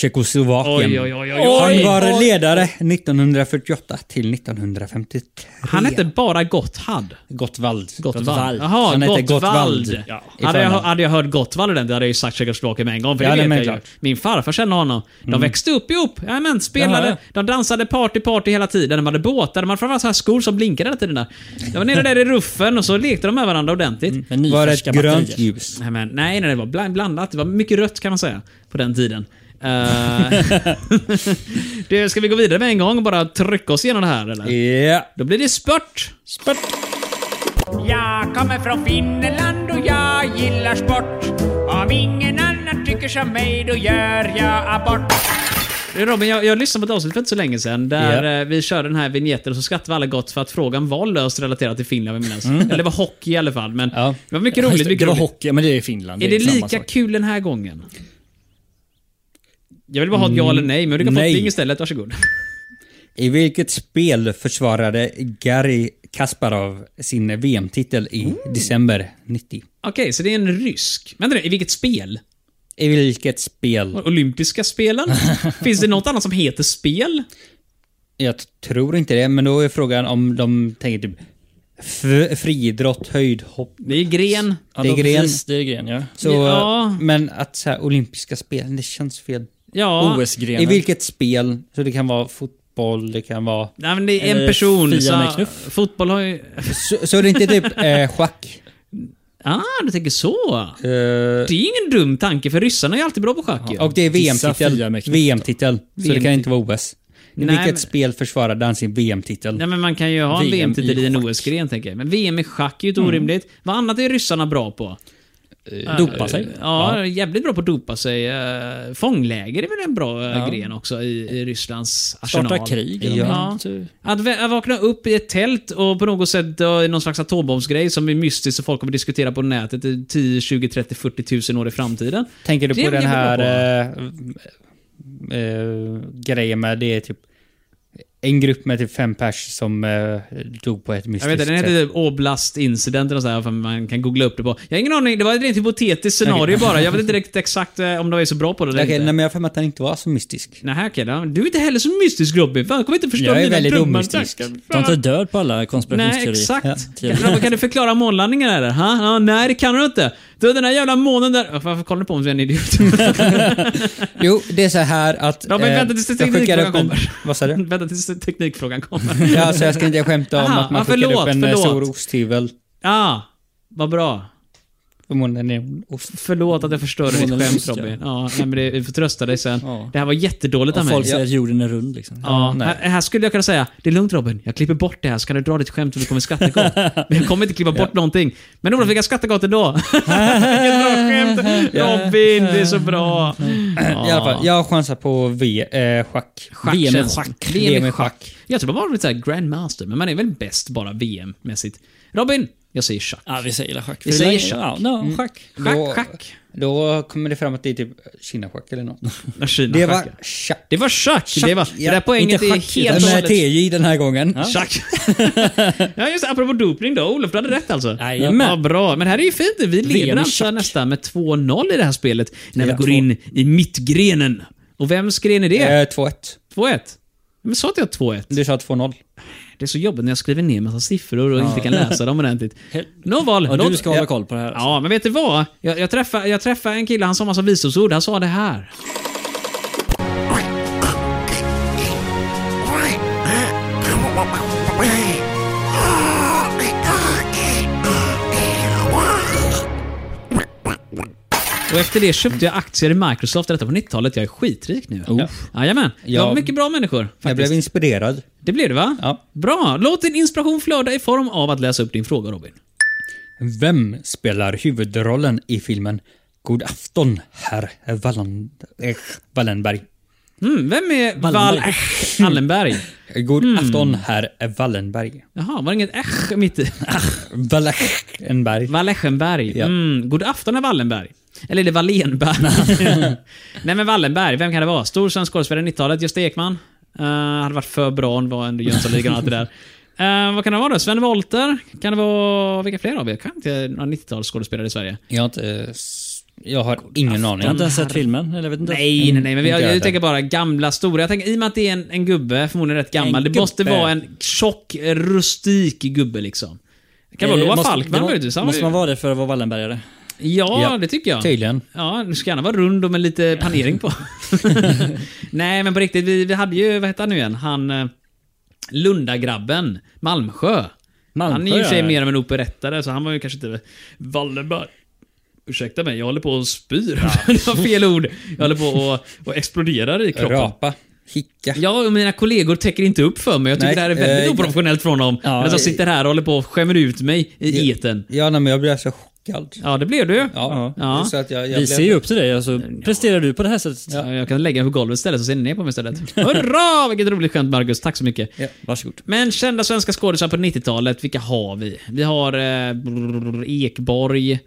[SPEAKER 1] Tjeckoslovakien.
[SPEAKER 2] Oj, oj, oj, oj,
[SPEAKER 1] Han
[SPEAKER 2] oj.
[SPEAKER 1] var ledare 1948 till 1953.
[SPEAKER 2] Han hette bara Gotthard.
[SPEAKER 1] Gottwald.
[SPEAKER 2] Gottvald. Jaha,
[SPEAKER 1] han hette
[SPEAKER 2] Gottvald.
[SPEAKER 1] Gottwald. Ja, i
[SPEAKER 2] hade, jag,
[SPEAKER 1] förnamn.
[SPEAKER 2] hade jag hört Gottvald ordentligt hade jag ju sagt Tjeckoslovakien med en gång. För
[SPEAKER 1] Ja,
[SPEAKER 2] det
[SPEAKER 1] nej, men
[SPEAKER 2] vet jag ju.
[SPEAKER 1] klart. Mm.
[SPEAKER 2] Min farfar kände honom. De växte upp ihop. Jajamän, spelade.
[SPEAKER 3] Jaha.
[SPEAKER 2] De dansade party, party hela tiden. De hade båtar. De hade framförallt så här skor som blinkade hela tiden där. De var nere där i ruffen och så lekte de med varandra ordentligt.
[SPEAKER 3] Med
[SPEAKER 1] Var det
[SPEAKER 3] nyfärska
[SPEAKER 1] ett grönt
[SPEAKER 3] batterier.
[SPEAKER 1] ljus?
[SPEAKER 2] Nej, men, nej, nej, det var bland, blandat. Det var mycket rött kan man säga på den tiden. Eh, det, ska vi gå vidare med en gång och bara trycka oss igenom det här eller?
[SPEAKER 1] Ja.
[SPEAKER 2] Då blir det spurt.
[SPEAKER 3] Spurt!
[SPEAKER 6] Jag kommer från Finland och jag gillar sport. Om ingen annan tycker som mig då gör jag abort.
[SPEAKER 2] Du, Robin, jag, jag lyssnade på ett avsnitt för inte så länge sedan där
[SPEAKER 1] Ja.
[SPEAKER 2] eh, vi körde den här vignetten och så skrattade alla gott för att frågan var löst relaterad till Finland, vill jag minnas. Eller det var hockey i alla fall. Men
[SPEAKER 1] Ja.
[SPEAKER 2] det var mycket
[SPEAKER 3] Mm. Ja,
[SPEAKER 2] roligt.
[SPEAKER 3] just det,
[SPEAKER 2] mycket
[SPEAKER 3] det var
[SPEAKER 2] roligt.
[SPEAKER 3] hockey, men det är Finland.
[SPEAKER 2] Är det
[SPEAKER 3] samma
[SPEAKER 2] lika
[SPEAKER 3] sak.
[SPEAKER 2] kul den här gången? Jag vill bara ha ett ja
[SPEAKER 3] Mm.
[SPEAKER 2] eller nej, men du kan få
[SPEAKER 1] nej.
[SPEAKER 2] ett ding istället. Varsågod.
[SPEAKER 1] I vilket spel försvarade Garry Kasparov sin VM-titel i december 90?
[SPEAKER 2] Okej, så det är en rysk. Vänta nu, i vilket spel?
[SPEAKER 1] I vilket spel?
[SPEAKER 2] Olympiska spelen? Finns det något annat som heter spel?
[SPEAKER 1] Jag t- tror inte det, men då är frågan om de tänker typ f- friidrott, höjdhopp.
[SPEAKER 2] Det är gren.
[SPEAKER 3] Ja,
[SPEAKER 1] det
[SPEAKER 3] då-
[SPEAKER 1] är gren.
[SPEAKER 3] Precis, det är gren, ja.
[SPEAKER 1] Så,
[SPEAKER 2] Ja.
[SPEAKER 1] Men att så här, olympiska spel, det känns fel.
[SPEAKER 2] Ja.
[SPEAKER 1] I
[SPEAKER 3] OS-grenen.
[SPEAKER 1] vilket spel? Så det kan vara fotboll, det kan vara...
[SPEAKER 2] Nej, men det är en
[SPEAKER 3] Eller
[SPEAKER 2] person.
[SPEAKER 3] Fia med
[SPEAKER 2] Så,
[SPEAKER 3] knuff.
[SPEAKER 2] fotboll har ju...
[SPEAKER 1] Så, så det är inte typ eh, schack?
[SPEAKER 2] Ah, du tänker så.
[SPEAKER 1] Eh,
[SPEAKER 2] Det är ingen dum tanke, för ryssarna är alltid bra på schack ju.
[SPEAKER 1] och det är
[SPEAKER 3] Fia
[SPEAKER 1] VM-titel.
[SPEAKER 3] med knuff.
[SPEAKER 1] VM-titel. Så det kan inte vara OS. I
[SPEAKER 2] Nej, men-
[SPEAKER 1] vilket spel försvarade han sin VM-titel?
[SPEAKER 2] Nej, men man kan ju ha en
[SPEAKER 3] VM i
[SPEAKER 2] VM-titel i en
[SPEAKER 3] schack. Mm.
[SPEAKER 2] OS-gren, tänker jag. Men VM i schack är ju inte orimligt. Vad annat är ryssarna bra på?
[SPEAKER 3] Dopa sig.
[SPEAKER 2] Ja, jävligt bra på att dopa sig. Eh, Fångläger är väl en bra eh, gren också i, i Rysslands arsenal.
[SPEAKER 3] Starta krig. eller
[SPEAKER 2] Ja.
[SPEAKER 3] något. Så-
[SPEAKER 2] Att, vä- att vakna upp i ett tält och på något sätt dö i någon slags atombombsgrej som är mystisk och folk kommer diskutera på nätet i 10, 20, 30, 40 tusen år i framtiden.
[SPEAKER 1] Tänker du
[SPEAKER 2] Det
[SPEAKER 1] på
[SPEAKER 2] är
[SPEAKER 1] den
[SPEAKER 2] jag
[SPEAKER 1] här
[SPEAKER 2] bra
[SPEAKER 1] eh, eh, grejen med det är typ en grupp med typ fem pers som eh, dog på ett
[SPEAKER 2] Jag
[SPEAKER 1] mystiskt
[SPEAKER 2] vet inte, den
[SPEAKER 1] sätt.
[SPEAKER 2] heter typ Oblast Incident eller sådär, för man kan googla upp det på. Jag har ingen aning, det var ett rent hypotetiskt scenario bara. Jag vet inte riktigt exakt eh, om de är så bra på det eller
[SPEAKER 1] Okej, nej
[SPEAKER 2] inte.
[SPEAKER 1] men jag har för mig att den inte var så mystisk.
[SPEAKER 2] Nej, okej då. Du är inte heller så mystisk Robin. Fan, jag kommer inte förstå
[SPEAKER 1] Jag är
[SPEAKER 2] mina
[SPEAKER 1] väldigt
[SPEAKER 2] dumma
[SPEAKER 1] omystisk.
[SPEAKER 2] tankar.
[SPEAKER 3] Ta inte död på alla
[SPEAKER 2] Nej,
[SPEAKER 3] konspirationsteorier.
[SPEAKER 2] exakt.
[SPEAKER 3] Ja.
[SPEAKER 2] Kan, kan du förklara månlandningen eller? Ha? Ja, nej, det kan du inte. Du, den där jävla månen där... Varför kollar du på mig som en idiot?
[SPEAKER 1] Jo, det är så här att...
[SPEAKER 2] Robin, vänta tills
[SPEAKER 1] Eh, jag skickar
[SPEAKER 2] teknikfrågan
[SPEAKER 1] upp en-
[SPEAKER 2] kommer.
[SPEAKER 1] Vad sa du?
[SPEAKER 2] Vänta tills teknikfrågan kommer.
[SPEAKER 1] Ja, alltså jag ska inte skämta om
[SPEAKER 2] Aha,
[SPEAKER 1] att man
[SPEAKER 2] ja,
[SPEAKER 1] skickar
[SPEAKER 2] förlåt,
[SPEAKER 1] upp en eh,
[SPEAKER 2] förlåt.
[SPEAKER 1] stor osthyvel.
[SPEAKER 2] ah, vad bra.
[SPEAKER 1] Förmodligen är det en ost.
[SPEAKER 2] Förlåt att jag förstörde ditt
[SPEAKER 3] Månen
[SPEAKER 2] skämt
[SPEAKER 3] lyser.
[SPEAKER 2] Robin. Ja, nej, men det, vi får trösta dig sen.
[SPEAKER 3] Ja.
[SPEAKER 2] Det här var jättedåligt av
[SPEAKER 3] Och
[SPEAKER 2] mig.
[SPEAKER 3] folk
[SPEAKER 2] ja,
[SPEAKER 3] säger att jorden är rund liksom.
[SPEAKER 2] här, här skulle jag kunna säga, det är lugnt Robin, jag klipper bort det här så kan du dra ditt skämt och du kommer skratta gott. Men jag kommer inte klippa bort någonting. Men Olof, fick jag skratta gott ändå. Vilket bra skämt! Robin, det är så bra.
[SPEAKER 1] I alla fall, jag chansar på v, eh, schack.
[SPEAKER 2] Schack
[SPEAKER 1] VM i
[SPEAKER 2] känns-
[SPEAKER 1] schack.
[SPEAKER 2] VM i
[SPEAKER 1] VM i schack.
[SPEAKER 2] Jag tror man var lite såhär grandmaster, men man är väl bäst bara VM-mässigt. Robin, jag säger schack.
[SPEAKER 3] Ja, vi säger schack.
[SPEAKER 2] Vi säger schack. Mm.
[SPEAKER 3] Ja, no, schack.
[SPEAKER 2] Schack,
[SPEAKER 1] Mm. Då-
[SPEAKER 2] schack.
[SPEAKER 1] Då kommer det fram att det är typ kinaschack eller något.
[SPEAKER 2] Kina,
[SPEAKER 1] Det
[SPEAKER 2] schack,
[SPEAKER 1] var
[SPEAKER 2] ja.
[SPEAKER 1] schack.
[SPEAKER 2] det var schack. Det, var, det
[SPEAKER 1] ja.
[SPEAKER 2] där poänget
[SPEAKER 3] Inte
[SPEAKER 2] är
[SPEAKER 3] schack, utan
[SPEAKER 2] helt och
[SPEAKER 1] Med
[SPEAKER 2] hållet...
[SPEAKER 1] TJ den här gången.
[SPEAKER 2] Schack. ja, just det. Apropå dopning då. Olof, du hade rätt alltså.
[SPEAKER 3] Jajamän.
[SPEAKER 2] Ja, bra. Men här är ju fint. Vi leder
[SPEAKER 3] i
[SPEAKER 2] alltså
[SPEAKER 3] schack.
[SPEAKER 2] nästan med 2-0 i det här spelet. När vi
[SPEAKER 1] Ja,
[SPEAKER 2] går
[SPEAKER 1] två.
[SPEAKER 2] in i mittgrenen. Och vems gren är det?
[SPEAKER 1] Eh, 2-1.
[SPEAKER 2] 2-1? Men sa inte jag 2-1?
[SPEAKER 1] Du sa 2-0.
[SPEAKER 2] Det är så jobbigt när jag skriver ner massa siffror och inte kan läsa dem ordentligt. Nåväl.
[SPEAKER 3] Ja,
[SPEAKER 2] låt-
[SPEAKER 3] du ska hålla koll på det
[SPEAKER 1] Alltså.
[SPEAKER 3] här.
[SPEAKER 2] Ja, men vet du vad? Jag, jag, träffade, jag träffade en kille, han sa massa visdomsord. Han sa det här. Och efter det köpte jag aktier i Microsoft detta på 90-talet. Jag är skitrik nu. Oh. Jajamän. Det var
[SPEAKER 1] Jag-
[SPEAKER 2] mycket bra människor.
[SPEAKER 1] Jag blev
[SPEAKER 2] Faktiskt.
[SPEAKER 1] inspirerad.
[SPEAKER 2] Det blev det va?
[SPEAKER 1] Ja.
[SPEAKER 2] Bra. Låt din inspiration flöda i form av att läsa upp din fråga Robin.
[SPEAKER 1] Vem spelar huvudrollen i filmen God afton herr Wallen, eh, Wallenberg?
[SPEAKER 2] Mm, vem är Val...
[SPEAKER 3] Wallenberg.
[SPEAKER 2] Wallenberg?
[SPEAKER 1] God afton herr Wallenberg. Ah,
[SPEAKER 2] Jaha, var det inget äsch mitt i?
[SPEAKER 1] Wallenberg.
[SPEAKER 2] Wallenberg.
[SPEAKER 1] Ja.
[SPEAKER 2] Mm, god afton herr Wallenberg. Eller är det Wallenberg? Nej men Wallenberg, vem kan det vara? Stor svensk skådespelare i 90-talet, Gösta Ekman. Uh, hade varit för bra om det var en Jönssonligan och allt det där. Eh, vad kan det vara då? Sven Wollter? Kan det vara... Vilka fler har vi? Kan inte några 90-talsskådespelare i Sverige?
[SPEAKER 1] Jag har inte... eh, s- Jag har ingen
[SPEAKER 3] Jag har
[SPEAKER 1] aning.
[SPEAKER 3] inte ens sett filmen. Eller jag vet inte.
[SPEAKER 2] Nej, nej, nej. Men vi,
[SPEAKER 1] inte
[SPEAKER 2] jag,
[SPEAKER 1] jag
[SPEAKER 2] jag
[SPEAKER 1] heller.
[SPEAKER 2] tänker bara gamla, stora. Jag tänker, I och med att det är en, en gubbe, förmodligen rätt gammal.
[SPEAKER 3] En
[SPEAKER 2] det måste
[SPEAKER 3] gubbe.
[SPEAKER 2] vara en tjock, rustik gubbe liksom. Det kan vara
[SPEAKER 3] Eh,
[SPEAKER 2] Loa
[SPEAKER 3] måste- det
[SPEAKER 2] Falkman
[SPEAKER 3] må-
[SPEAKER 2] möjligtvis. Han var
[SPEAKER 3] Måste
[SPEAKER 2] ju-
[SPEAKER 3] man vara det för att vara Wallenbergare?
[SPEAKER 2] Ja,
[SPEAKER 1] Ja,
[SPEAKER 2] det tycker jag.
[SPEAKER 1] tydligen.
[SPEAKER 2] Ja, du ska gärna vara rund och med lite panering på. Nej, men på riktigt. Vi, vi hade ju, vad hette han nu igen? Han... eh, Lundagrabben. Malmsjö.
[SPEAKER 3] Malmsjö,
[SPEAKER 2] han är ju i och för sig
[SPEAKER 3] ja.
[SPEAKER 2] mer av en operettare, så han var ju kanske inte Wallenberg. Ursäkta mig, jag håller på och spyr. det var fel ord. Jag håller på och, och exploderar i kroppen.
[SPEAKER 1] Rapa. Hicka.
[SPEAKER 2] Ja, och mina kollegor täcker inte upp för mig. Jag tycker
[SPEAKER 1] Nej,
[SPEAKER 2] det här är väldigt
[SPEAKER 1] eh,
[SPEAKER 2] oprofessionellt från dem.
[SPEAKER 3] Ja,
[SPEAKER 2] Medan jag sitter här och håller på och skämmer ut mig i etern.
[SPEAKER 1] Ja, nej, men jag blev så chockad.
[SPEAKER 2] Ja, det blev du. Ja.
[SPEAKER 1] Ja.
[SPEAKER 2] Ja.
[SPEAKER 1] Så att jag, jag
[SPEAKER 3] Vi
[SPEAKER 1] blev-
[SPEAKER 3] ser ju upp till dig. Alltså, presterar du på det här sättet?
[SPEAKER 2] Eh, Jag kan lägga mig på golvet istället, så ser ni ner på mig istället. Hurra! Vilket roligt skämt, Marcus. Tack så mycket.
[SPEAKER 1] Ja.
[SPEAKER 3] Varsågod.
[SPEAKER 2] Men kända svenska skådisar på 90-talet, vilka har vi? Vi har eh, brr, Ekborg. Eh,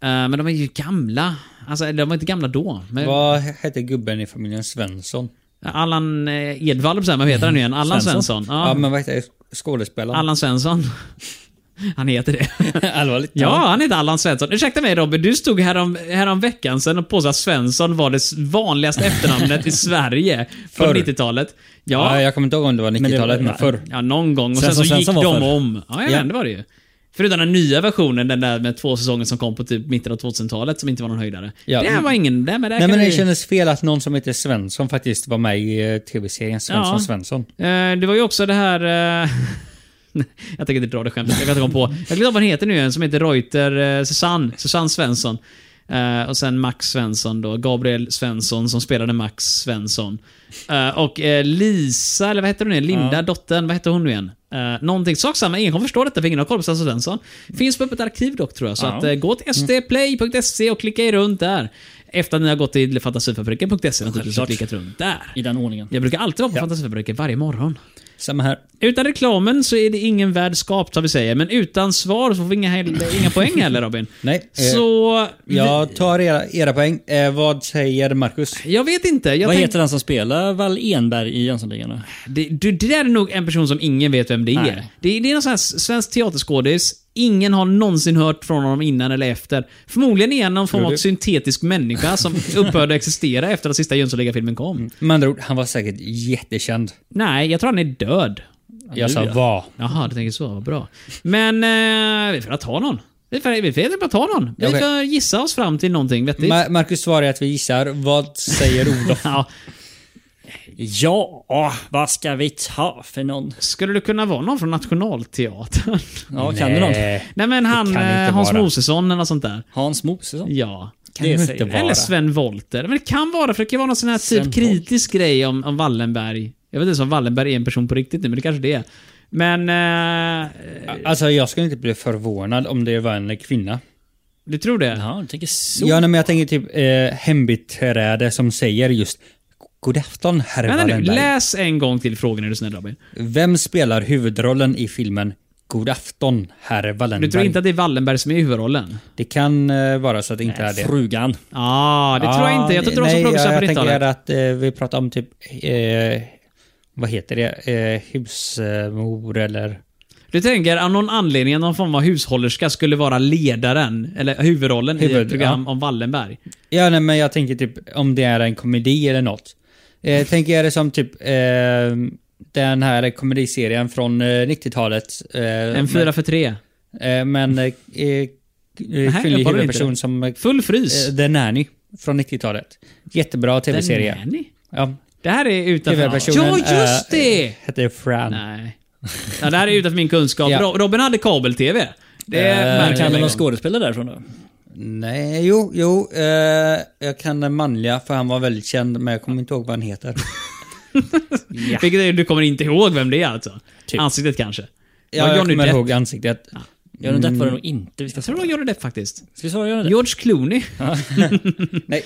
[SPEAKER 2] men de är ju gamla. Alltså, de var inte gamla då. Men
[SPEAKER 1] Vad hette gubben i familjen Svensson?
[SPEAKER 2] Allan eh, Edwall, så här, men vad heter han nu igen? Allan Svensson.
[SPEAKER 3] Svensson.
[SPEAKER 1] Ja,
[SPEAKER 2] Ja,
[SPEAKER 1] men vad heter skådespelaren?
[SPEAKER 2] Allan Svensson. Han heter det.
[SPEAKER 1] Allvarligt?
[SPEAKER 2] Ja, han heter Allan Svensson. Ursäkta mig Robin, du stod härom, härom veckan sedan och påstod att Svensson var det s- vanligaste efternamnet i Sverige på
[SPEAKER 1] Förr.
[SPEAKER 2] 90-talet.
[SPEAKER 1] Ja.
[SPEAKER 2] Ja, ja,
[SPEAKER 1] jag kommer inte ihåg om det var 90-talet, men,
[SPEAKER 3] Men det-
[SPEAKER 1] förr.
[SPEAKER 2] någon gång. Och sen
[SPEAKER 3] Svensson,
[SPEAKER 2] så gick
[SPEAKER 3] Svensson var
[SPEAKER 2] de
[SPEAKER 3] förr.
[SPEAKER 2] om. Ja, ja,
[SPEAKER 1] Ja.
[SPEAKER 2] det var det ju. Förutom den nya versionen, den där med två säsonger som kom på typ mitten av 2000-talet som inte var någon höjdare.
[SPEAKER 1] Ja.
[SPEAKER 2] Det här var ingen... Det, men det, här
[SPEAKER 1] Nej
[SPEAKER 2] kan
[SPEAKER 1] men det
[SPEAKER 2] vi-
[SPEAKER 1] kändes fel att någon som heter Svensson faktiskt var med i eh, tv-serien Svensson
[SPEAKER 2] Ja.
[SPEAKER 1] Svensson.
[SPEAKER 2] Eh, det var ju också det här... eh, jag tänker inte dra det skämtet, jag kan inte komma på. Jag glömde vad han heter nu igen, som heter Reuter eh, Susanne, Susanne Svensson. Eh, och sen Max Svensson då, Gabriel Svensson som spelade Max Svensson. Eh, och eh, Lisa, eller vad heter hon nu? Linda, dottern, vad heter hon nu igen? Uh, någonting, sak samma, ingen kommer förstå detta för ingen har koll på Svensson Svensson. Finns på öppet arkiv dock tror jag, så
[SPEAKER 3] Ja. Mm.
[SPEAKER 2] att, eh, gå till sdplay.se och klicka er runt där. Efter att ni har gått till fantasifabriken.se naturligtvis och
[SPEAKER 3] Självklart.
[SPEAKER 2] klickat runt där.
[SPEAKER 3] I den ordningen.
[SPEAKER 2] Jag brukar alltid vara på fantasifabriken varje morgon.
[SPEAKER 1] Samma här.
[SPEAKER 2] Utan reklamen så är det ingen värld skapt, som vi säger. Men utan svar så får vi inga, heller- inga poäng heller, Robin.
[SPEAKER 1] Nej. eh,
[SPEAKER 2] Så...
[SPEAKER 1] Jag tar era, era poäng. Eh, vad säger Marcus?
[SPEAKER 2] Jag vet inte. Jag
[SPEAKER 3] Vad
[SPEAKER 2] tänk-
[SPEAKER 3] heter han som spelar Wall Enberg i Jönssonligan? då?
[SPEAKER 2] det, du, det där är nog en person som ingen vet vem det är.
[SPEAKER 3] Nej.
[SPEAKER 2] Det, det är någon sån här s- svensk teaterskådis. Ingen har någonsin hört från honom innan eller efter. Förmodligen är han någon form av syntetisk människa som upphörde att existera efter att sista Jönssonliga-filmen kom.
[SPEAKER 3] Mm.
[SPEAKER 1] Med andra ord, han var säkert jättekänd.
[SPEAKER 2] Nej, jag tror han är död.
[SPEAKER 1] Jag sa
[SPEAKER 3] ja.
[SPEAKER 1] vad?
[SPEAKER 2] Jaha, du tänker så. Vad bra. Men eh, vi får väl ta någon. Vi får, vi får helt enkelt bara ta någon. Vi
[SPEAKER 1] Okej.
[SPEAKER 2] får gissa oss fram till någonting vettigt.
[SPEAKER 1] Ma- Marcus svarar att vi gissar. Vad säger Olof?
[SPEAKER 2] ja,
[SPEAKER 3] Ja, vad ska vi ta för någon?
[SPEAKER 2] skulle det kunna vara någon från Nationalteatern?
[SPEAKER 3] Ja, kan du någon?
[SPEAKER 1] Nej,
[SPEAKER 2] Nej men
[SPEAKER 1] Det
[SPEAKER 2] han,
[SPEAKER 1] kan
[SPEAKER 2] eh,
[SPEAKER 1] inte
[SPEAKER 2] Hans
[SPEAKER 1] vara.
[SPEAKER 2] Mosesson eller något sånt där.
[SPEAKER 3] Hans Mosesson?
[SPEAKER 2] Ja.
[SPEAKER 1] kan det inte
[SPEAKER 3] säger-
[SPEAKER 1] vara.
[SPEAKER 2] Eller Sven Wollter. Men det kan vara, för det kan vara någon sån här
[SPEAKER 3] Sven
[SPEAKER 2] typ kritisk grej om, om Wallenberg. Jag vet inte ens om Wallenberg är en person på riktigt nu, men det kanske det är. Men... Eh,
[SPEAKER 1] Alltså jag skulle inte bli förvånad om det var en kvinna.
[SPEAKER 2] du tror det?
[SPEAKER 3] Ja, du tänker så.
[SPEAKER 1] Ja, nej, men jag tänker typ eh, hembiträde som säger just God afton herr
[SPEAKER 2] Vänta nu,
[SPEAKER 1] Wallenberg.
[SPEAKER 2] läs en gång till frågan är du snäll Robin.
[SPEAKER 1] Vem spelar huvudrollen i filmen God afton herr Wallenberg?
[SPEAKER 2] Du tror inte att det är Wallenberg som är huvudrollen?
[SPEAKER 1] Det kan eh, vara så att det inte är det. Ah,
[SPEAKER 3] Frugan.
[SPEAKER 2] Ja, det tror jag inte. Jag tror inte de som
[SPEAKER 1] nej,
[SPEAKER 2] producerar på
[SPEAKER 1] jag, jag tänker
[SPEAKER 2] 90-talet.
[SPEAKER 1] att eh, vi pratar om typ... Eh, vad heter det? Eh, husmor eller...
[SPEAKER 2] Du tänker av någon anledning att någon form av hushållerska skulle vara ledaren, eller huvudrollen i ett
[SPEAKER 1] Huvud,
[SPEAKER 2] program om Wallenberg.
[SPEAKER 1] Ja, nej, men jag tänker typ om det är en komedi eller något.
[SPEAKER 2] Mm.
[SPEAKER 1] Eh, tänker jag det som typ eh, den här komediserien från eh, 90-talet. Eh,
[SPEAKER 2] En fyra för tre.
[SPEAKER 1] Eh, men eh, eh,
[SPEAKER 2] jag
[SPEAKER 1] kvinnlig
[SPEAKER 2] kollar inte.
[SPEAKER 1] huvudperson som eh,
[SPEAKER 2] Full frys.
[SPEAKER 1] eh, The Nanny från 90-talet. Jättebra
[SPEAKER 2] Den
[SPEAKER 1] tv-serie.
[SPEAKER 2] är ni.
[SPEAKER 1] Ja,
[SPEAKER 2] Det här är utanför...
[SPEAKER 1] huvudpersonen
[SPEAKER 2] Ja, just
[SPEAKER 1] eh,
[SPEAKER 2] det!
[SPEAKER 1] hette Fran.
[SPEAKER 2] Nej. Ja, det här är utanför min kunskap.
[SPEAKER 1] Ja.
[SPEAKER 2] Ro- Robin hade kabel-tv. Det
[SPEAKER 1] Eh,
[SPEAKER 3] Kan
[SPEAKER 2] märker jag
[SPEAKER 3] du
[SPEAKER 2] med
[SPEAKER 3] någon
[SPEAKER 2] en gång.
[SPEAKER 3] skådespelare därifrån då?
[SPEAKER 1] Nej, jo, jo. Eh, jag kan den manliga för han var väldigt känd men jag kommer inte ihåg vad han heter. ja.
[SPEAKER 2] Vilket är, du kommer inte ihåg vem det är alltså?
[SPEAKER 1] Typ.
[SPEAKER 2] Ansiktet kanske?
[SPEAKER 1] Ja,
[SPEAKER 2] Var
[SPEAKER 1] jag
[SPEAKER 2] Johnny
[SPEAKER 1] kommer
[SPEAKER 2] Depp?
[SPEAKER 1] ihåg ansiktet.
[SPEAKER 3] Göran Depp var det nog inte vi ska
[SPEAKER 2] Jag tror
[SPEAKER 3] svara.
[SPEAKER 2] det var Johnny Depp faktiskt.
[SPEAKER 3] Ska vi svara Göran Depp?
[SPEAKER 2] George Clooney.
[SPEAKER 1] Nej.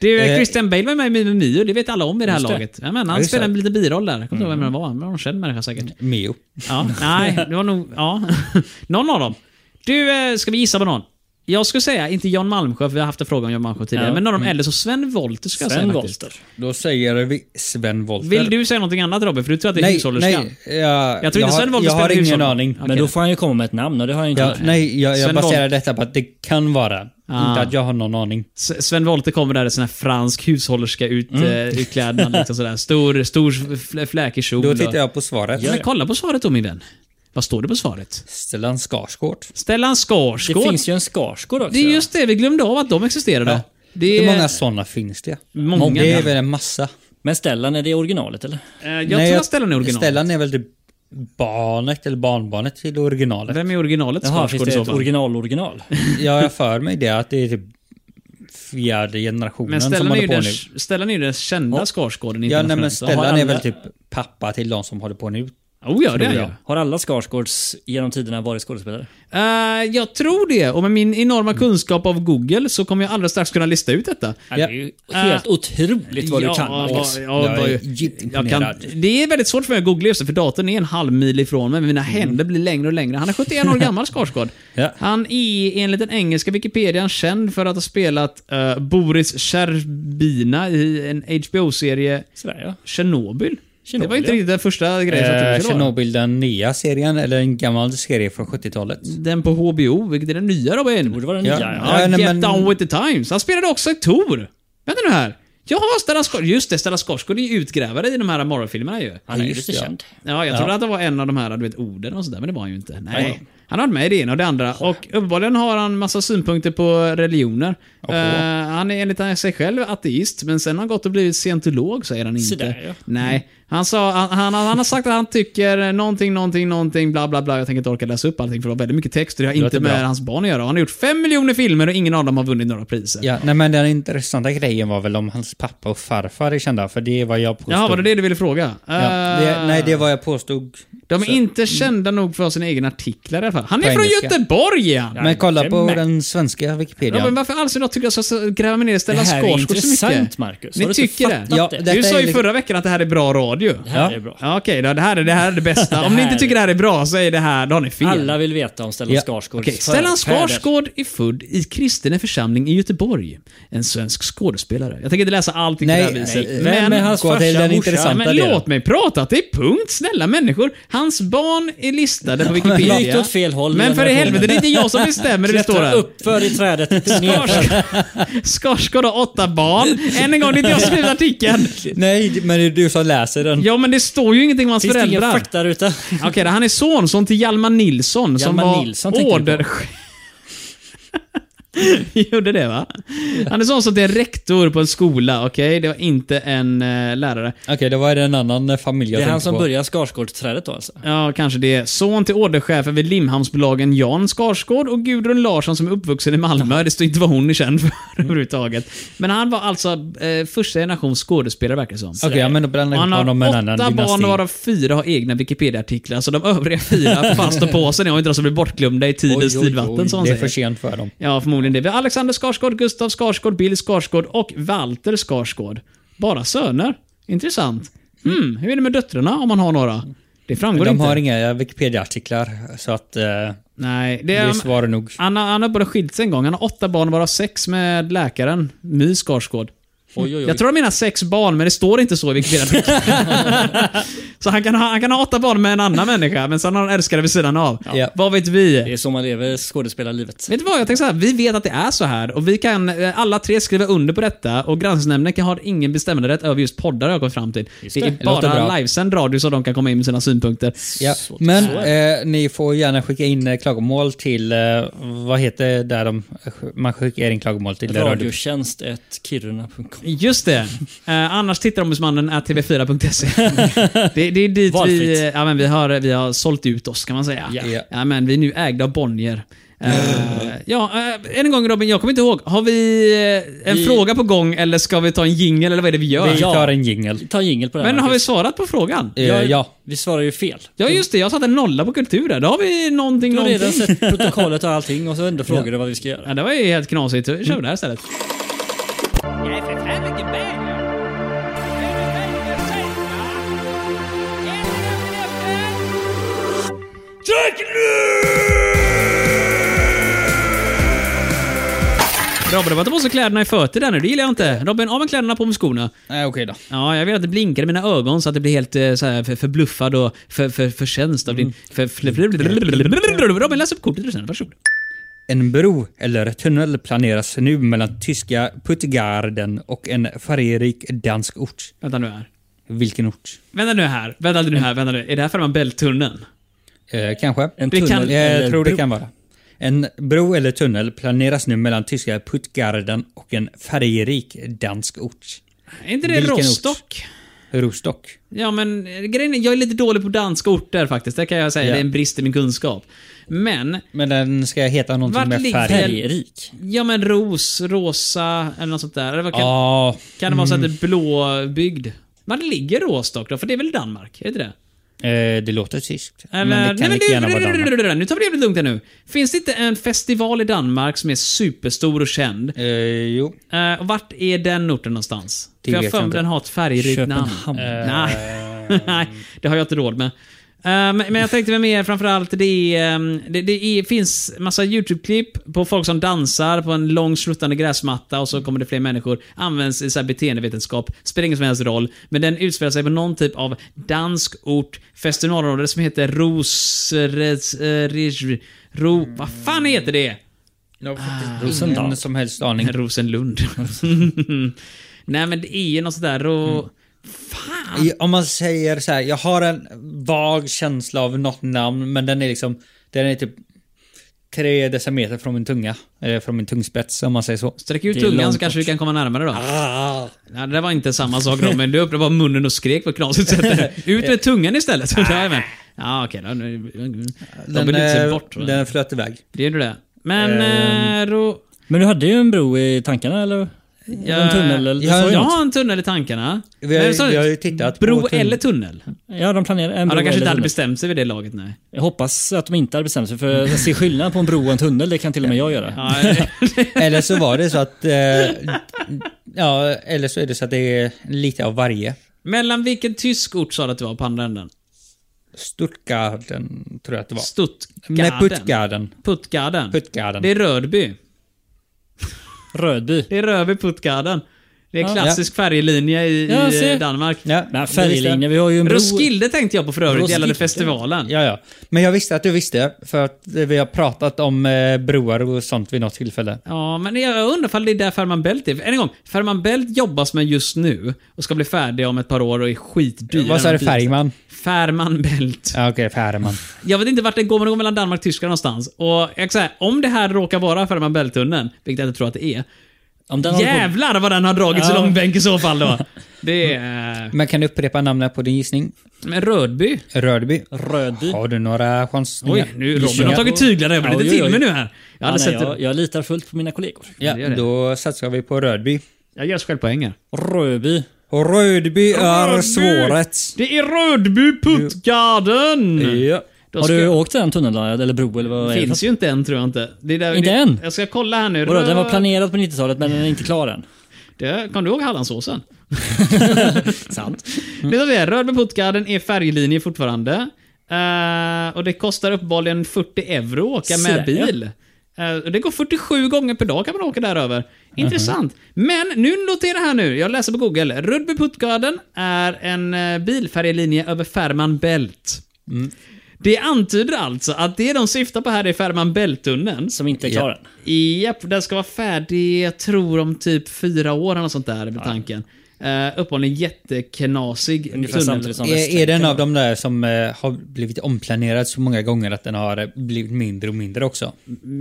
[SPEAKER 2] Du,
[SPEAKER 1] Eh,
[SPEAKER 2] Christian Bale var med i Mimmi Mio, det vet alla om i det här
[SPEAKER 3] Just det.
[SPEAKER 2] laget. Ja, men, han
[SPEAKER 1] just
[SPEAKER 2] spelade
[SPEAKER 1] det. Mm.
[SPEAKER 2] en liten biroll där. Jag kommer inte ihåg vem han var. Han var någon känd människa säkert.
[SPEAKER 1] Mio.
[SPEAKER 2] Ja, nej, det var nog... Ja. Någon av dem. Du, eh, ska vi gissa på någon? Jag skulle säga, inte Jan Malmsjö, för vi har haft en fråga om Jan Malmsjö tidigare,
[SPEAKER 3] Ja.
[SPEAKER 2] men någon
[SPEAKER 1] Mm.
[SPEAKER 2] av de äldre, så Sven Wollter ska jag säga
[SPEAKER 3] Sven
[SPEAKER 2] faktiskt.
[SPEAKER 3] Wollter.
[SPEAKER 1] Då säger vi Sven Wolter.
[SPEAKER 2] Vill du säga någonting annat Robin? För du tror att det är
[SPEAKER 1] Nej,
[SPEAKER 2] hushållerskan?
[SPEAKER 1] nej. Jag,
[SPEAKER 2] Jag tror inte
[SPEAKER 1] har-
[SPEAKER 2] Sven Wollter
[SPEAKER 1] Jag har
[SPEAKER 2] spelar
[SPEAKER 1] ingen
[SPEAKER 2] hushåll.
[SPEAKER 1] aning.
[SPEAKER 2] Okej.
[SPEAKER 3] Men då får han ju komma med ett namn och det har han ju inte
[SPEAKER 1] Ja,
[SPEAKER 3] gjort.
[SPEAKER 1] nej, jag, jag
[SPEAKER 2] Sven
[SPEAKER 1] baserar
[SPEAKER 2] Woll-
[SPEAKER 1] detta på att det kan vara.
[SPEAKER 2] Ah.
[SPEAKER 1] Inte att jag har någon aning.
[SPEAKER 2] S- Sven Wollter kommer där i sån här fransk hushållerska ut,
[SPEAKER 1] Mm.
[SPEAKER 2] eh, utklädnad. Liksom sådär. Stor, stor fl- fläkig kjol.
[SPEAKER 1] Då
[SPEAKER 2] och-
[SPEAKER 1] tittar jag på svaret.
[SPEAKER 2] Men kolla på svaret då min vän. Vad står det på svaret?
[SPEAKER 1] Stellan Skarsgård.
[SPEAKER 2] Stellan
[SPEAKER 3] Det
[SPEAKER 2] Skarsgård.
[SPEAKER 3] finns ju en Skarsgård också.
[SPEAKER 2] Det är just det, vi glömde av att de existerade.
[SPEAKER 1] Ja.
[SPEAKER 2] Det
[SPEAKER 1] Hur
[SPEAKER 2] är
[SPEAKER 1] många sådana finns det?
[SPEAKER 2] Många.
[SPEAKER 1] Det är väl en massa?
[SPEAKER 3] Men Stellan, är det originalet eller?
[SPEAKER 2] Eh, Jag tror att Stellan är originalet.
[SPEAKER 1] Stellan är väl typ barnet eller barnbarnet till originalet.
[SPEAKER 2] Vem är originalet
[SPEAKER 3] Jaha,
[SPEAKER 2] Skarsgård
[SPEAKER 3] finns
[SPEAKER 2] i
[SPEAKER 3] det
[SPEAKER 2] så
[SPEAKER 3] ett
[SPEAKER 2] fall?
[SPEAKER 3] original-original?
[SPEAKER 1] Jag har för mig det, att det är typ fjärde generationen
[SPEAKER 2] Men
[SPEAKER 1] som
[SPEAKER 2] Stellan är,
[SPEAKER 1] håller
[SPEAKER 2] ju
[SPEAKER 1] på
[SPEAKER 2] den,
[SPEAKER 1] nu.
[SPEAKER 2] Stellan är ju den kända
[SPEAKER 1] Ja.
[SPEAKER 2] Skarsgården
[SPEAKER 1] Ja, nej, men
[SPEAKER 2] internationellt.
[SPEAKER 3] har
[SPEAKER 1] Stellan
[SPEAKER 3] alla-
[SPEAKER 1] är väl typ pappa till de som håller på nu.
[SPEAKER 2] Oh ja, det är
[SPEAKER 1] tror
[SPEAKER 2] han ju.
[SPEAKER 1] jag.
[SPEAKER 3] Har alla Skarsgårds genom tiderna varit skådespelare?
[SPEAKER 2] Eh, jag tror det. Och med min enorma kunskap av Google så kommer jag alldeles strax kunna lista ut detta.
[SPEAKER 3] Ja. Ah.
[SPEAKER 1] Ja.
[SPEAKER 3] Det är ju helt
[SPEAKER 2] Äh,
[SPEAKER 3] otroligt vad
[SPEAKER 2] ja,
[SPEAKER 3] du kan.
[SPEAKER 2] ja,
[SPEAKER 3] Alex.
[SPEAKER 2] ja,
[SPEAKER 1] jag
[SPEAKER 2] vad-
[SPEAKER 1] är djupt
[SPEAKER 2] jag kan,
[SPEAKER 1] imponerad.
[SPEAKER 2] det är väldigt svårt för mig att googla just det, för datorn är en halv mil ifrån mig, men mina händer blir längre och längre. Han är 71 år gammal, Skarsgård.
[SPEAKER 1] Ja.
[SPEAKER 2] Han är enligt den engelska Wikipedian känd för att ha spelat eh, Boris Sherbina i en HBO-serie
[SPEAKER 3] Sådär ja.
[SPEAKER 2] Tjernobyl. Det var
[SPEAKER 3] Tjernobyl,
[SPEAKER 2] inte
[SPEAKER 3] ja.
[SPEAKER 2] riktigt den första grejen som jag
[SPEAKER 1] Eh,
[SPEAKER 2] trodde det typ var.
[SPEAKER 1] Tjernobyl, den nya serien, eller en gammal serie från 70-talet.
[SPEAKER 2] Den på HBO, vilket är den nya Robin.
[SPEAKER 3] Borde vara den
[SPEAKER 1] Ja.
[SPEAKER 3] nya. Ja.
[SPEAKER 2] Ja,
[SPEAKER 1] Ja, nej,
[SPEAKER 2] Get
[SPEAKER 1] men-
[SPEAKER 2] Down With The Times. Han spelade också i Tor. Vänta nu här. Ja, Stellan Skarsgård. Just det, Stellan Skarsgård är ju utgrävare i de här morgonfilmerna ju.
[SPEAKER 3] Han är ju
[SPEAKER 1] just
[SPEAKER 3] lite
[SPEAKER 1] det, ja.
[SPEAKER 3] känd.
[SPEAKER 2] Ja, jag trodde att det var en av de här, du vet, orden och sådär, men det var han ju inte. Nej. Han har varit med i det ena och det andra och uppenbarligen har han massa synpunkter på religioner. Eh, han är enligt sig själv ateist, men sen har han gått och blivit scientolog, säger han inte.
[SPEAKER 3] Så där, ja.
[SPEAKER 2] Nej. Han, sa, han, han, han har sagt att han tycker någonting, någonting, någonting, bla, bla, bla. Jag tänker inte orka läsa upp allting för det var väldigt mycket text och det har inte med hans barn att göra. Han har gjort fem miljoner filmer och ingen av dem har vunnit några priser.
[SPEAKER 1] Ja, nej, men den intressanta grejen var väl om hans pappa och farfar är kända, för det var jag påstod.
[SPEAKER 2] Jaha, var det det du ville fråga?
[SPEAKER 1] Ja, det, nej, det var jag påstod.
[SPEAKER 2] De är inte kända nog för att ha sina egna artiklar i alla fall. Han är
[SPEAKER 1] På
[SPEAKER 2] från
[SPEAKER 1] engelska.
[SPEAKER 2] Göteborg, är han!
[SPEAKER 1] Men kolla på
[SPEAKER 3] men-
[SPEAKER 1] den svenska
[SPEAKER 2] Ja,
[SPEAKER 1] Wikipedia.
[SPEAKER 2] men varför alls idag tycker jag så- så gräva mig ner i
[SPEAKER 3] Det
[SPEAKER 2] Stellan
[SPEAKER 3] här är
[SPEAKER 2] Skarsgård så mycket?
[SPEAKER 3] intressant Marcus. Har
[SPEAKER 2] Ni
[SPEAKER 3] du inte
[SPEAKER 2] tycker det?
[SPEAKER 3] fattat
[SPEAKER 1] Ja,
[SPEAKER 3] det?
[SPEAKER 1] det-
[SPEAKER 2] Du
[SPEAKER 1] Detta
[SPEAKER 2] sa
[SPEAKER 1] är
[SPEAKER 2] ju
[SPEAKER 1] liksom-
[SPEAKER 2] förra veckan att det här är bra radio.
[SPEAKER 3] Det här
[SPEAKER 1] Ja.
[SPEAKER 3] är bra.
[SPEAKER 2] Ja, okej, då, det, här är, det här är det bästa. Om ni inte
[SPEAKER 3] här
[SPEAKER 2] tycker det här är bra så är det här, då har ni fel.
[SPEAKER 3] Alla vill veta om Stellan
[SPEAKER 1] Ja.
[SPEAKER 3] Skarsgård.
[SPEAKER 2] Okej, Stellan Skarsgård är född i Kristine församling i Göteborg. En svensk skådespelare. Jag tänker inte läsa allting
[SPEAKER 1] Nej,
[SPEAKER 2] på det här viset.
[SPEAKER 1] nej. Vem är hans
[SPEAKER 2] Gå
[SPEAKER 1] farsa,
[SPEAKER 2] till den
[SPEAKER 1] morsa?
[SPEAKER 2] intressanta
[SPEAKER 1] Men
[SPEAKER 2] delen.
[SPEAKER 1] låt
[SPEAKER 2] Låt mig prata till punkt, snälla människor. Hans barn är listade på Wikipedia.
[SPEAKER 3] vi gick åt fel håll,
[SPEAKER 2] Men för i
[SPEAKER 3] generationen.
[SPEAKER 2] helvete, det är inte jag som bestämmer hur det står
[SPEAKER 3] Klättra
[SPEAKER 2] här.
[SPEAKER 3] upp för i trädet. ner för-
[SPEAKER 2] Skarsgård- Skarsgård har åtta barn. Än en gång, det är inte jag som skriver artikeln.
[SPEAKER 1] Nej, det- men det är du som läser den.
[SPEAKER 2] Ja, men det står ju ingenting om hans
[SPEAKER 3] Finns det ingen
[SPEAKER 2] föräldrar.
[SPEAKER 3] faktaruta?
[SPEAKER 2] Okej, då, han är sonson till Hjalmar Nilsson
[SPEAKER 3] Hjalmar
[SPEAKER 2] som var
[SPEAKER 3] Nilsson tänker du på.
[SPEAKER 2] orderchef. Gjorde det va? Han är sonson till en rektor på en skola, okej? Det var inte en eh, lärare.
[SPEAKER 1] Okej, då var det en annan eh, familj jag
[SPEAKER 3] Det är han
[SPEAKER 1] tänkte
[SPEAKER 3] som
[SPEAKER 1] på.
[SPEAKER 3] börjar Skarsgårdsträdet då alltså?
[SPEAKER 2] Ja, kanske det. är Son till orderchefen vid Limhamnsbolagen Jan Skarsgård och Gudrun Larsson som är uppvuxen i Malmö. Det står inte vad hon är känd för överhuvudtaget. Men han var alltså eh, första generation skådespelare verkar det som.
[SPEAKER 1] Okej, ja, men då blandar jag
[SPEAKER 2] Han
[SPEAKER 1] ihop
[SPEAKER 2] har
[SPEAKER 1] honom med en annan
[SPEAKER 2] åtta barn
[SPEAKER 1] dynasti.
[SPEAKER 2] varav fyra har egna Wikipedia-artiklar, så de övriga fyra fast och på sig när jag inte de som blir bortglömda i tidens
[SPEAKER 1] Oj, oj, oj,
[SPEAKER 2] tidvatten, som han
[SPEAKER 1] Det är för
[SPEAKER 2] säger.
[SPEAKER 1] sent för dem.
[SPEAKER 2] Ja, förmodligen det. Vi har Alexander Skarsgård, Gustav Skarsgård, Bill Skarsgård och Walter Skarsgård. Bara söner. Intressant. Hmm, hur är det med döttrarna om man har några? Det framgår
[SPEAKER 1] De
[SPEAKER 2] inte.
[SPEAKER 1] har inga Wikipedia-artiklar, så att eh,
[SPEAKER 2] Nej, det
[SPEAKER 1] det
[SPEAKER 2] är...
[SPEAKER 1] är svar nog.
[SPEAKER 2] Han har, han har bara skilt sig en gång. Han har åtta barn, varav sex med läkaren My Skarsgård.
[SPEAKER 3] Oj, oj, oj.
[SPEAKER 2] Jag tror de menar sex barn, men det står inte så i Wikipedia. så han kan, ha, han kan ha åtta barn med en annan människa, men sen har han en älskare vid sidan av.
[SPEAKER 1] Ja.
[SPEAKER 2] Vad vet vi?
[SPEAKER 3] Det är så man lever skådespelarlivet.
[SPEAKER 2] Vet du vad? Jag tänker så här, vi vet att det är så här och vi kan eh, alla tre skriva under på detta och granskningsnämnden kan ha ingen bestämmanderätt över just poddar har jag kommit fram till. Det.
[SPEAKER 1] det.
[SPEAKER 2] är
[SPEAKER 1] Låter
[SPEAKER 2] bara
[SPEAKER 1] bra.
[SPEAKER 2] livesänd radio så de kan komma in med sina synpunkter.
[SPEAKER 1] Ja. Men eh, ni får gärna skicka in eh, klagomål till, eh, vad heter där de, man skickar in klagomål till? Radio.
[SPEAKER 3] Radiotjänst ett kiruna.com.
[SPEAKER 2] Just det. Eh, annars tittarombudsmannen är tv4.se. det, det är dit
[SPEAKER 3] Valfritt.
[SPEAKER 2] vi, ja, men vi, har, vi har sålt ut oss kan man säga.
[SPEAKER 1] Ja. Ja.
[SPEAKER 2] Ja, men vi är nu ägda av Bonnier. Eh, ja, eh, än en gång Robin, jag kommer inte ihåg. Har vi eh, en
[SPEAKER 3] Vi-
[SPEAKER 2] fråga på gång eller ska vi ta en jingel eller vad är det vi gör?
[SPEAKER 1] Vi tar en jingel.
[SPEAKER 3] Ta en jingel på den.
[SPEAKER 2] Men har vi
[SPEAKER 3] Marcus.
[SPEAKER 2] svarat på frågan?
[SPEAKER 1] Eh,
[SPEAKER 3] Jag-
[SPEAKER 1] ja.
[SPEAKER 3] Vi svarar ju fel.
[SPEAKER 2] Ja just det, jag satte en nolla på kultur där. Då har vi någonting,
[SPEAKER 3] Du har
[SPEAKER 2] någonting.
[SPEAKER 3] redan sett protokollet och allting och så ändå frågar du vad vi ska göra.
[SPEAKER 2] Ja, det var ju helt knasigt. Då kör vi det här istället.
[SPEAKER 6] Jag är förfärligt bäger. Är du bäger själva? Är du bäger?
[SPEAKER 2] Robin, du var ta på sig kläderna i fötter där nu. Det gillar jag inte. Robin, av med kläderna, på med skorna.
[SPEAKER 1] Nej, Eh, okej då.
[SPEAKER 2] Ja, jag vill att det blinkar i mina ögon så att det blir helt eh, så här, för, förbluffad och för, för, förtjänst av din... För, för, Robin, läs upp kortet du känner. Varsågod.
[SPEAKER 1] En bro eller tunnel planeras nu mellan tyska Puttgarden och en färgrik dansk ort.
[SPEAKER 2] Vänta nu här.
[SPEAKER 1] Vilken ort?
[SPEAKER 2] Vänta nu här. Vänta nu här. Vänta nu. Är det här Fehmarn Bält-tunneln?
[SPEAKER 1] Eh, kanske.
[SPEAKER 3] En
[SPEAKER 2] Det kan-
[SPEAKER 3] tunnel
[SPEAKER 1] Jag
[SPEAKER 3] eller
[SPEAKER 1] tror
[SPEAKER 3] bro.
[SPEAKER 1] det kan vara. En bro eller tunnel planeras nu mellan tyska Puttgarden och en färgrik dansk ort.
[SPEAKER 2] Är inte det
[SPEAKER 1] Vilken ort?
[SPEAKER 2] Rostock?
[SPEAKER 1] Rostock.
[SPEAKER 2] Ja, men eh, grejen är, jag är lite dålig på danska orter faktiskt. Det kan jag säga.
[SPEAKER 1] Ja.
[SPEAKER 2] Det är en brist i min kunskap. Men,
[SPEAKER 1] Men den ska heta någonting
[SPEAKER 2] Vart
[SPEAKER 1] med
[SPEAKER 2] ligger-
[SPEAKER 1] färg.
[SPEAKER 3] Färgrik.
[SPEAKER 2] ja men ros, rosa eller något sånt där. Eller vad kan,
[SPEAKER 1] Ja, mm.
[SPEAKER 2] kan det vara så att det är blåbyggd? Var ligger Rostock då? För det är väl Danmark? Är det inte det?
[SPEAKER 1] eh, det låter tyskt.
[SPEAKER 2] Eller,
[SPEAKER 1] men det kan
[SPEAKER 2] nej,
[SPEAKER 1] lika gärna vara Danmark.
[SPEAKER 2] men du, Nu tar vi det lite lugnt här nu. Finns det inte en festival i Danmark som är superstor och känd?
[SPEAKER 1] Eh, jo.
[SPEAKER 2] Eh, och vart är den orten någonstans?
[SPEAKER 1] Det
[SPEAKER 2] För jag har
[SPEAKER 1] vet
[SPEAKER 2] för
[SPEAKER 1] jag
[SPEAKER 2] mig
[SPEAKER 1] inte.
[SPEAKER 2] den har ett färgrikt namn.
[SPEAKER 3] Köpenhamn.
[SPEAKER 2] Eh, Nej. Nej, det har jag inte råd med. Eh, Men, men jag tänkte väl mer framförallt, det, är, ehm, det, det är, finns massa YouTube-klipp på folk som dansar på en lång sluttande gräsmatta och så kommer det fler människor. Används i så här beteendevetenskap, spelar ingen som helst roll. Men den utspelar sig på någon typ av dansk ort, festivalområde som heter Ros... Res, eh, Ris- Ro, vad fan heter det?
[SPEAKER 1] Jag har faktiskt
[SPEAKER 3] Rosendahl.
[SPEAKER 1] ingen som helst aning.
[SPEAKER 2] Rosenlund. Nej men det är ju något sådär och...
[SPEAKER 1] Mm.
[SPEAKER 2] Fan!
[SPEAKER 1] I- Om man säger så här, jag har en vag känsla av något namn, men den är liksom, den är typ tre decimeter från min tunga. Eller från min tungspets om man säger så.
[SPEAKER 2] Sträck ut
[SPEAKER 3] är
[SPEAKER 2] tungan så
[SPEAKER 3] långt
[SPEAKER 2] kanske vi kan komma närmare då.
[SPEAKER 1] Ah,
[SPEAKER 2] Ja, det där var inte samma sak då, men du öppnade bara munnen och skrek på ett knasigt sätt. Ut med tungan istället. Jajamän. Ja, okej då. Nu- De
[SPEAKER 1] den,
[SPEAKER 2] vill inte se
[SPEAKER 1] eh,
[SPEAKER 2] bort. va?
[SPEAKER 1] den flöt iväg.
[SPEAKER 2] Det gjorde det. Men... eh, Ro...
[SPEAKER 3] Men du hade ju en bro i tankarna eller? en tunnel eller?
[SPEAKER 2] jag,
[SPEAKER 3] så,
[SPEAKER 2] jag
[SPEAKER 3] ja.
[SPEAKER 2] har en tunnel i tankarna.
[SPEAKER 1] Vi har ju-
[SPEAKER 2] Men så-
[SPEAKER 1] vi har ju tittat på
[SPEAKER 2] Bro
[SPEAKER 1] tunn-
[SPEAKER 2] eller tunnel?
[SPEAKER 3] ja, de planerar en
[SPEAKER 2] Ja,
[SPEAKER 3] bro eller
[SPEAKER 2] de kanske inte hade
[SPEAKER 3] tunnel.
[SPEAKER 2] bestämt sig vid det laget, nej.
[SPEAKER 3] Jag hoppas att de inte hade bestämt sig för att se skillnad på en bro och en tunnel, det kan till och med jag göra.
[SPEAKER 2] Ja, eh.
[SPEAKER 1] Eller så var det så att... Eh, ja, eller så är det så att det är lite av varje.
[SPEAKER 2] Mellan vilken tysk ort sa du att det var på andra änden?
[SPEAKER 1] Stuttgarden tror jag att det var.
[SPEAKER 2] Stuttgarden.
[SPEAKER 1] Nej, Puttgarden.
[SPEAKER 2] Puttgarden.
[SPEAKER 1] Puttgarden.
[SPEAKER 2] Det är Rödby.
[SPEAKER 3] Rödby.
[SPEAKER 2] Det är Rödby Puttgarden. Det är
[SPEAKER 3] Ja.
[SPEAKER 2] klassisk färjelinje i,
[SPEAKER 3] Ja,
[SPEAKER 2] i
[SPEAKER 3] se.
[SPEAKER 2] eh, Danmark.
[SPEAKER 1] Ja,
[SPEAKER 3] Nej,
[SPEAKER 1] det visste jag.
[SPEAKER 3] färglinje, vi har ju en bro.
[SPEAKER 2] Roskilde tänkte jag på för övrigt gällande
[SPEAKER 3] Roskilde.
[SPEAKER 2] festivalen.
[SPEAKER 1] Ja, ja. Men jag visste att du visste, för att eh, vi har pratat om eh, broar och sånt vid något tillfälle.
[SPEAKER 2] Ja, men jag undrar ifall det är där Ferman Bält är. Än en gång, Ferman Bält jobbas med just nu och ska bli färdig om ett par år och är skitdyr.
[SPEAKER 1] Vad sa du, Färgman?
[SPEAKER 2] Ferman Bält.
[SPEAKER 1] Ja, okej, Färman.
[SPEAKER 2] Jag vet inte vart det går, men det går mellan Danmark och Tyskland någonstans. Och jag kan säga, om det här råkar vara Ferman Bält-tunneln, vilket jag inte tror att det är.
[SPEAKER 3] Om den håller på-
[SPEAKER 2] Jävlar vad den har dragits i
[SPEAKER 3] Ja. eh,
[SPEAKER 2] långbänk i så fall då. Det är...
[SPEAKER 1] Men kan du upprepa namnet på din gissning?
[SPEAKER 2] Men Rödby.
[SPEAKER 1] Rödby.
[SPEAKER 3] Rödby.
[SPEAKER 1] Har du några chansningar?
[SPEAKER 2] Oj, nu Robin
[SPEAKER 3] Gissningar.
[SPEAKER 2] har tagit tyglarna över. Det
[SPEAKER 3] Oj,
[SPEAKER 2] är
[SPEAKER 3] oj,
[SPEAKER 2] till
[SPEAKER 3] oj.
[SPEAKER 2] mig nu här. Jag
[SPEAKER 3] Ja,
[SPEAKER 2] hade
[SPEAKER 3] nej,
[SPEAKER 2] sett
[SPEAKER 3] jag,
[SPEAKER 2] det.
[SPEAKER 3] jag litar fullt på mina kollegor.
[SPEAKER 2] det gör
[SPEAKER 1] Ja,
[SPEAKER 2] det.
[SPEAKER 1] då satsar vi på Rödby.
[SPEAKER 2] Jag gör självpoänger.
[SPEAKER 3] Rödby.
[SPEAKER 1] Och Rödby är
[SPEAKER 2] Rödby!
[SPEAKER 1] svåret.
[SPEAKER 2] Det är Rödby Puttgarden!
[SPEAKER 1] Ja.
[SPEAKER 2] Då
[SPEAKER 3] Har
[SPEAKER 2] ska-
[SPEAKER 3] du åkt den tunneln då? Eller bro eller vad
[SPEAKER 2] Det
[SPEAKER 3] är det?
[SPEAKER 2] finns ju inte en tror jag inte. Det är där,
[SPEAKER 3] Inte
[SPEAKER 2] det,
[SPEAKER 3] än?
[SPEAKER 2] Jag ska kolla här nu.
[SPEAKER 3] Vadå, den var planerad på 90-talet men den är inte klar än.
[SPEAKER 2] Det- Kommer du ihåg Hallandsåsen?
[SPEAKER 3] Sant.
[SPEAKER 2] Det är så det är. Rödby Puttgarden är färjelinje fortfarande. Eh, och det kostar uppenbarligen 40 euro att åka
[SPEAKER 3] Så där,
[SPEAKER 2] med bil. Eh, och det går 47 gånger per dag kan man åka där över.
[SPEAKER 3] Mhm.
[SPEAKER 2] Intressant. Men nu notera här nu, jag läser på Google. Rödby Puttgarden är en eh, bilfärjelinje över Fehmarn Bält.
[SPEAKER 3] Mm.
[SPEAKER 2] Det antyder alltså att det de syftar på här är Fehmarn Bält-tunneln.
[SPEAKER 3] Som inte är klar än.
[SPEAKER 2] Japp, den ska vara färdig, jag tror om typ fyra år eller något sånt där, med tanken. Uh, Uppenbarligen jätteknasig
[SPEAKER 3] Ungefär
[SPEAKER 2] tunnel.
[SPEAKER 3] samtidigt som
[SPEAKER 1] Är, är
[SPEAKER 3] Västlänken.
[SPEAKER 1] den av de där som eh, har blivit omplanerad så många gånger att den har eh, blivit mindre och mindre också?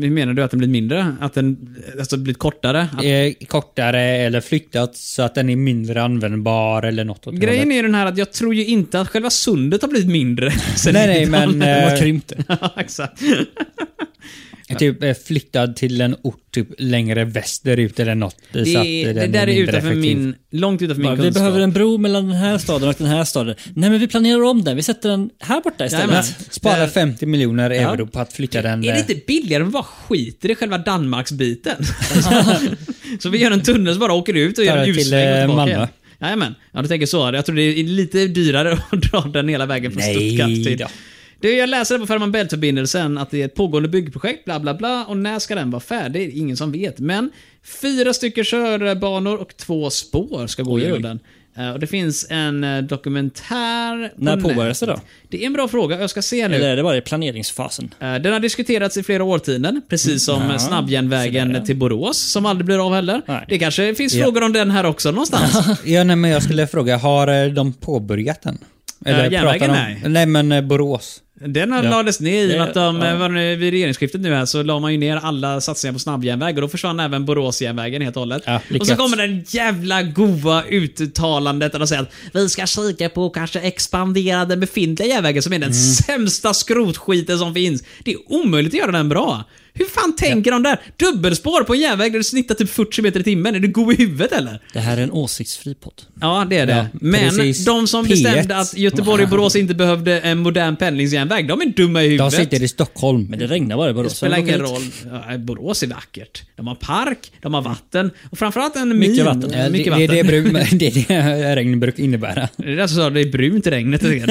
[SPEAKER 2] Hur menar du att den blir mindre? Att den alltså, blivit kortare? Att,
[SPEAKER 1] Eh, kortare eller flyttat så att den är mindre användbar eller något åt det
[SPEAKER 2] grejen
[SPEAKER 1] hållet.
[SPEAKER 2] är ju den här att jag tror ju inte att själva sundet har blivit mindre. sen
[SPEAKER 1] Nej, nej, men...
[SPEAKER 2] 90-talet.
[SPEAKER 3] Den
[SPEAKER 1] eh,
[SPEAKER 3] har krympt det.
[SPEAKER 2] Ja, Exakt.
[SPEAKER 1] Typ eh, flyttad till en ort typ längre västerut eller något. eh,
[SPEAKER 2] Det,
[SPEAKER 1] så att
[SPEAKER 2] är-
[SPEAKER 1] den
[SPEAKER 2] det där är
[SPEAKER 1] mindre
[SPEAKER 2] utanför
[SPEAKER 1] effektiv.
[SPEAKER 2] min, långt utanför min
[SPEAKER 3] Bara, Vi
[SPEAKER 2] kunskap.
[SPEAKER 3] behöver en bro mellan den här staden och den här staden. Nej men vi planerar om den, vi sätter den här borta istället.
[SPEAKER 2] Jajamän.
[SPEAKER 1] Spara
[SPEAKER 2] Eh,
[SPEAKER 1] 50 miljoner euro på att flytta den.
[SPEAKER 2] Är det
[SPEAKER 1] eh,
[SPEAKER 2] inte billigare att bara skiter i själva Danmarksbiten? så vi gör en tunnel som bara åker ut och
[SPEAKER 1] Tar
[SPEAKER 2] gör en
[SPEAKER 1] den till,
[SPEAKER 2] ljussväng och
[SPEAKER 1] eh,
[SPEAKER 2] tillbaka
[SPEAKER 1] Malmö.
[SPEAKER 2] igen. Jajamän. Ja, du tänker så. Jag tror det är lite dyrare att dra den hela vägen från
[SPEAKER 1] Nej
[SPEAKER 2] Stuttgart till...
[SPEAKER 1] då.
[SPEAKER 2] Du, jag läser på Fehmarn Bält-förbindelsen att det är ett pågående byggprojekt, bla bla bla, och när ska den vara färdig? Det är Ingen som vet. Men fyra stycken körbanor och två spår ska gå genom den. Eh, Och det finns en eh, dokumentär... på
[SPEAKER 3] När påbörjas det då?
[SPEAKER 2] nätet. Det är en bra fråga, jag ska se nu.
[SPEAKER 3] Eller är det bara i planeringsfasen?
[SPEAKER 2] Eh, Den har diskuterats i flera årtionden, precis som eh, snabbjärnvägen till Borås, som aldrig blir av heller.
[SPEAKER 3] Nej.
[SPEAKER 2] Det kanske finns frågor om den här också någonstans.
[SPEAKER 1] Ja, nej, men jag skulle fråga, har eh, de påbörjat den?
[SPEAKER 2] Eh, järnvägen,
[SPEAKER 1] pratar de-
[SPEAKER 2] nej.
[SPEAKER 1] Nej, men eh, Borås.
[SPEAKER 2] Den har-
[SPEAKER 3] Ja.
[SPEAKER 2] lades ner i och med att de,
[SPEAKER 3] Ja.
[SPEAKER 2] var nu, vid regeringsskiftet nu här så la man ju ner alla satsningar på snabbjärnväg och då försvann även Boråsjärnvägen helt och hållet.
[SPEAKER 3] Ja,
[SPEAKER 2] och
[SPEAKER 3] lyckats.
[SPEAKER 2] så kommer den jävla goa uttalandet där de säger att vi ska kika på och kanske expandera den befintliga järnvägen som är den sämsta skrotskiten som finns. Det är omöjligt att göra den bra. Hur fan tänker de där? Dubbelspår på en järnväg där du snittar typ 40 meter i timmen. Är du god i huvudet eller?
[SPEAKER 3] Det här är en åsiktsfri podd.
[SPEAKER 2] Ja, det är det.
[SPEAKER 1] Ja,
[SPEAKER 2] Men
[SPEAKER 1] precis.
[SPEAKER 2] de som
[SPEAKER 1] P1.
[SPEAKER 2] bestämde att Göteborg och Borås inte behövde en modern pendlingsjärnväg, de är dumma i
[SPEAKER 1] De
[SPEAKER 2] huvudet.
[SPEAKER 1] sitter i Stockholm.
[SPEAKER 3] Men det regnar bara i Borås.
[SPEAKER 2] det spelar ingen
[SPEAKER 3] Går
[SPEAKER 2] roll. Ja, Borås är vackert. De har park, de har vatten och framförallt en
[SPEAKER 3] Mycket
[SPEAKER 2] min.
[SPEAKER 3] vatten.
[SPEAKER 1] Ja,
[SPEAKER 2] Mycket
[SPEAKER 1] det, det, är
[SPEAKER 2] vatten.
[SPEAKER 1] brun, det är det regn brukar innebära.
[SPEAKER 2] Det är därför jag sa att det är brunt i regnet. Då är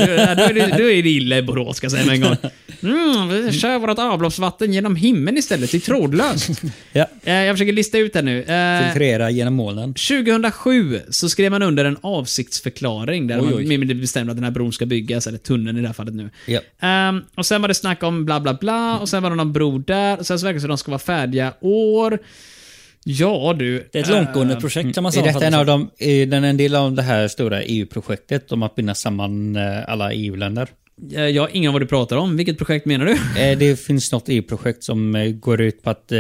[SPEAKER 2] det, då är det illa i Borås, ska jag säga med en gång. Mm, vi kör vårt avloppsvatten genom himlen istället. Det är trådlöst.
[SPEAKER 1] Ja.
[SPEAKER 2] Eh, Jag försöker lista ut det nu. Eh,
[SPEAKER 1] Filtrera genom molnen.
[SPEAKER 2] 2007 så skrev man under en avsiktsförklaring där
[SPEAKER 3] Oj,
[SPEAKER 2] man
[SPEAKER 3] oj.
[SPEAKER 2] mer eller mindre bestämde att den här bron ska byggas, eller tunneln i det här fallet nu.
[SPEAKER 1] Ja.
[SPEAKER 2] Ehm, och sen var det snack om bla bla bla, och sen var det någon bro där, och sen så verkar det som att de ska vara färdiga år. Ja du.
[SPEAKER 3] Det är ett
[SPEAKER 2] Ehm,
[SPEAKER 3] långtgående projekt kan man
[SPEAKER 1] Är
[SPEAKER 3] säga.
[SPEAKER 1] detta en, av de, är den en del av det här stora EU-projektet om att binda samman eh, alla EU-länder?
[SPEAKER 2] eh, jag har ingen aning vad du pratar om. Vilket projekt menar du?
[SPEAKER 1] Eh, Det finns något EU-projekt som eh, går ut på att eh,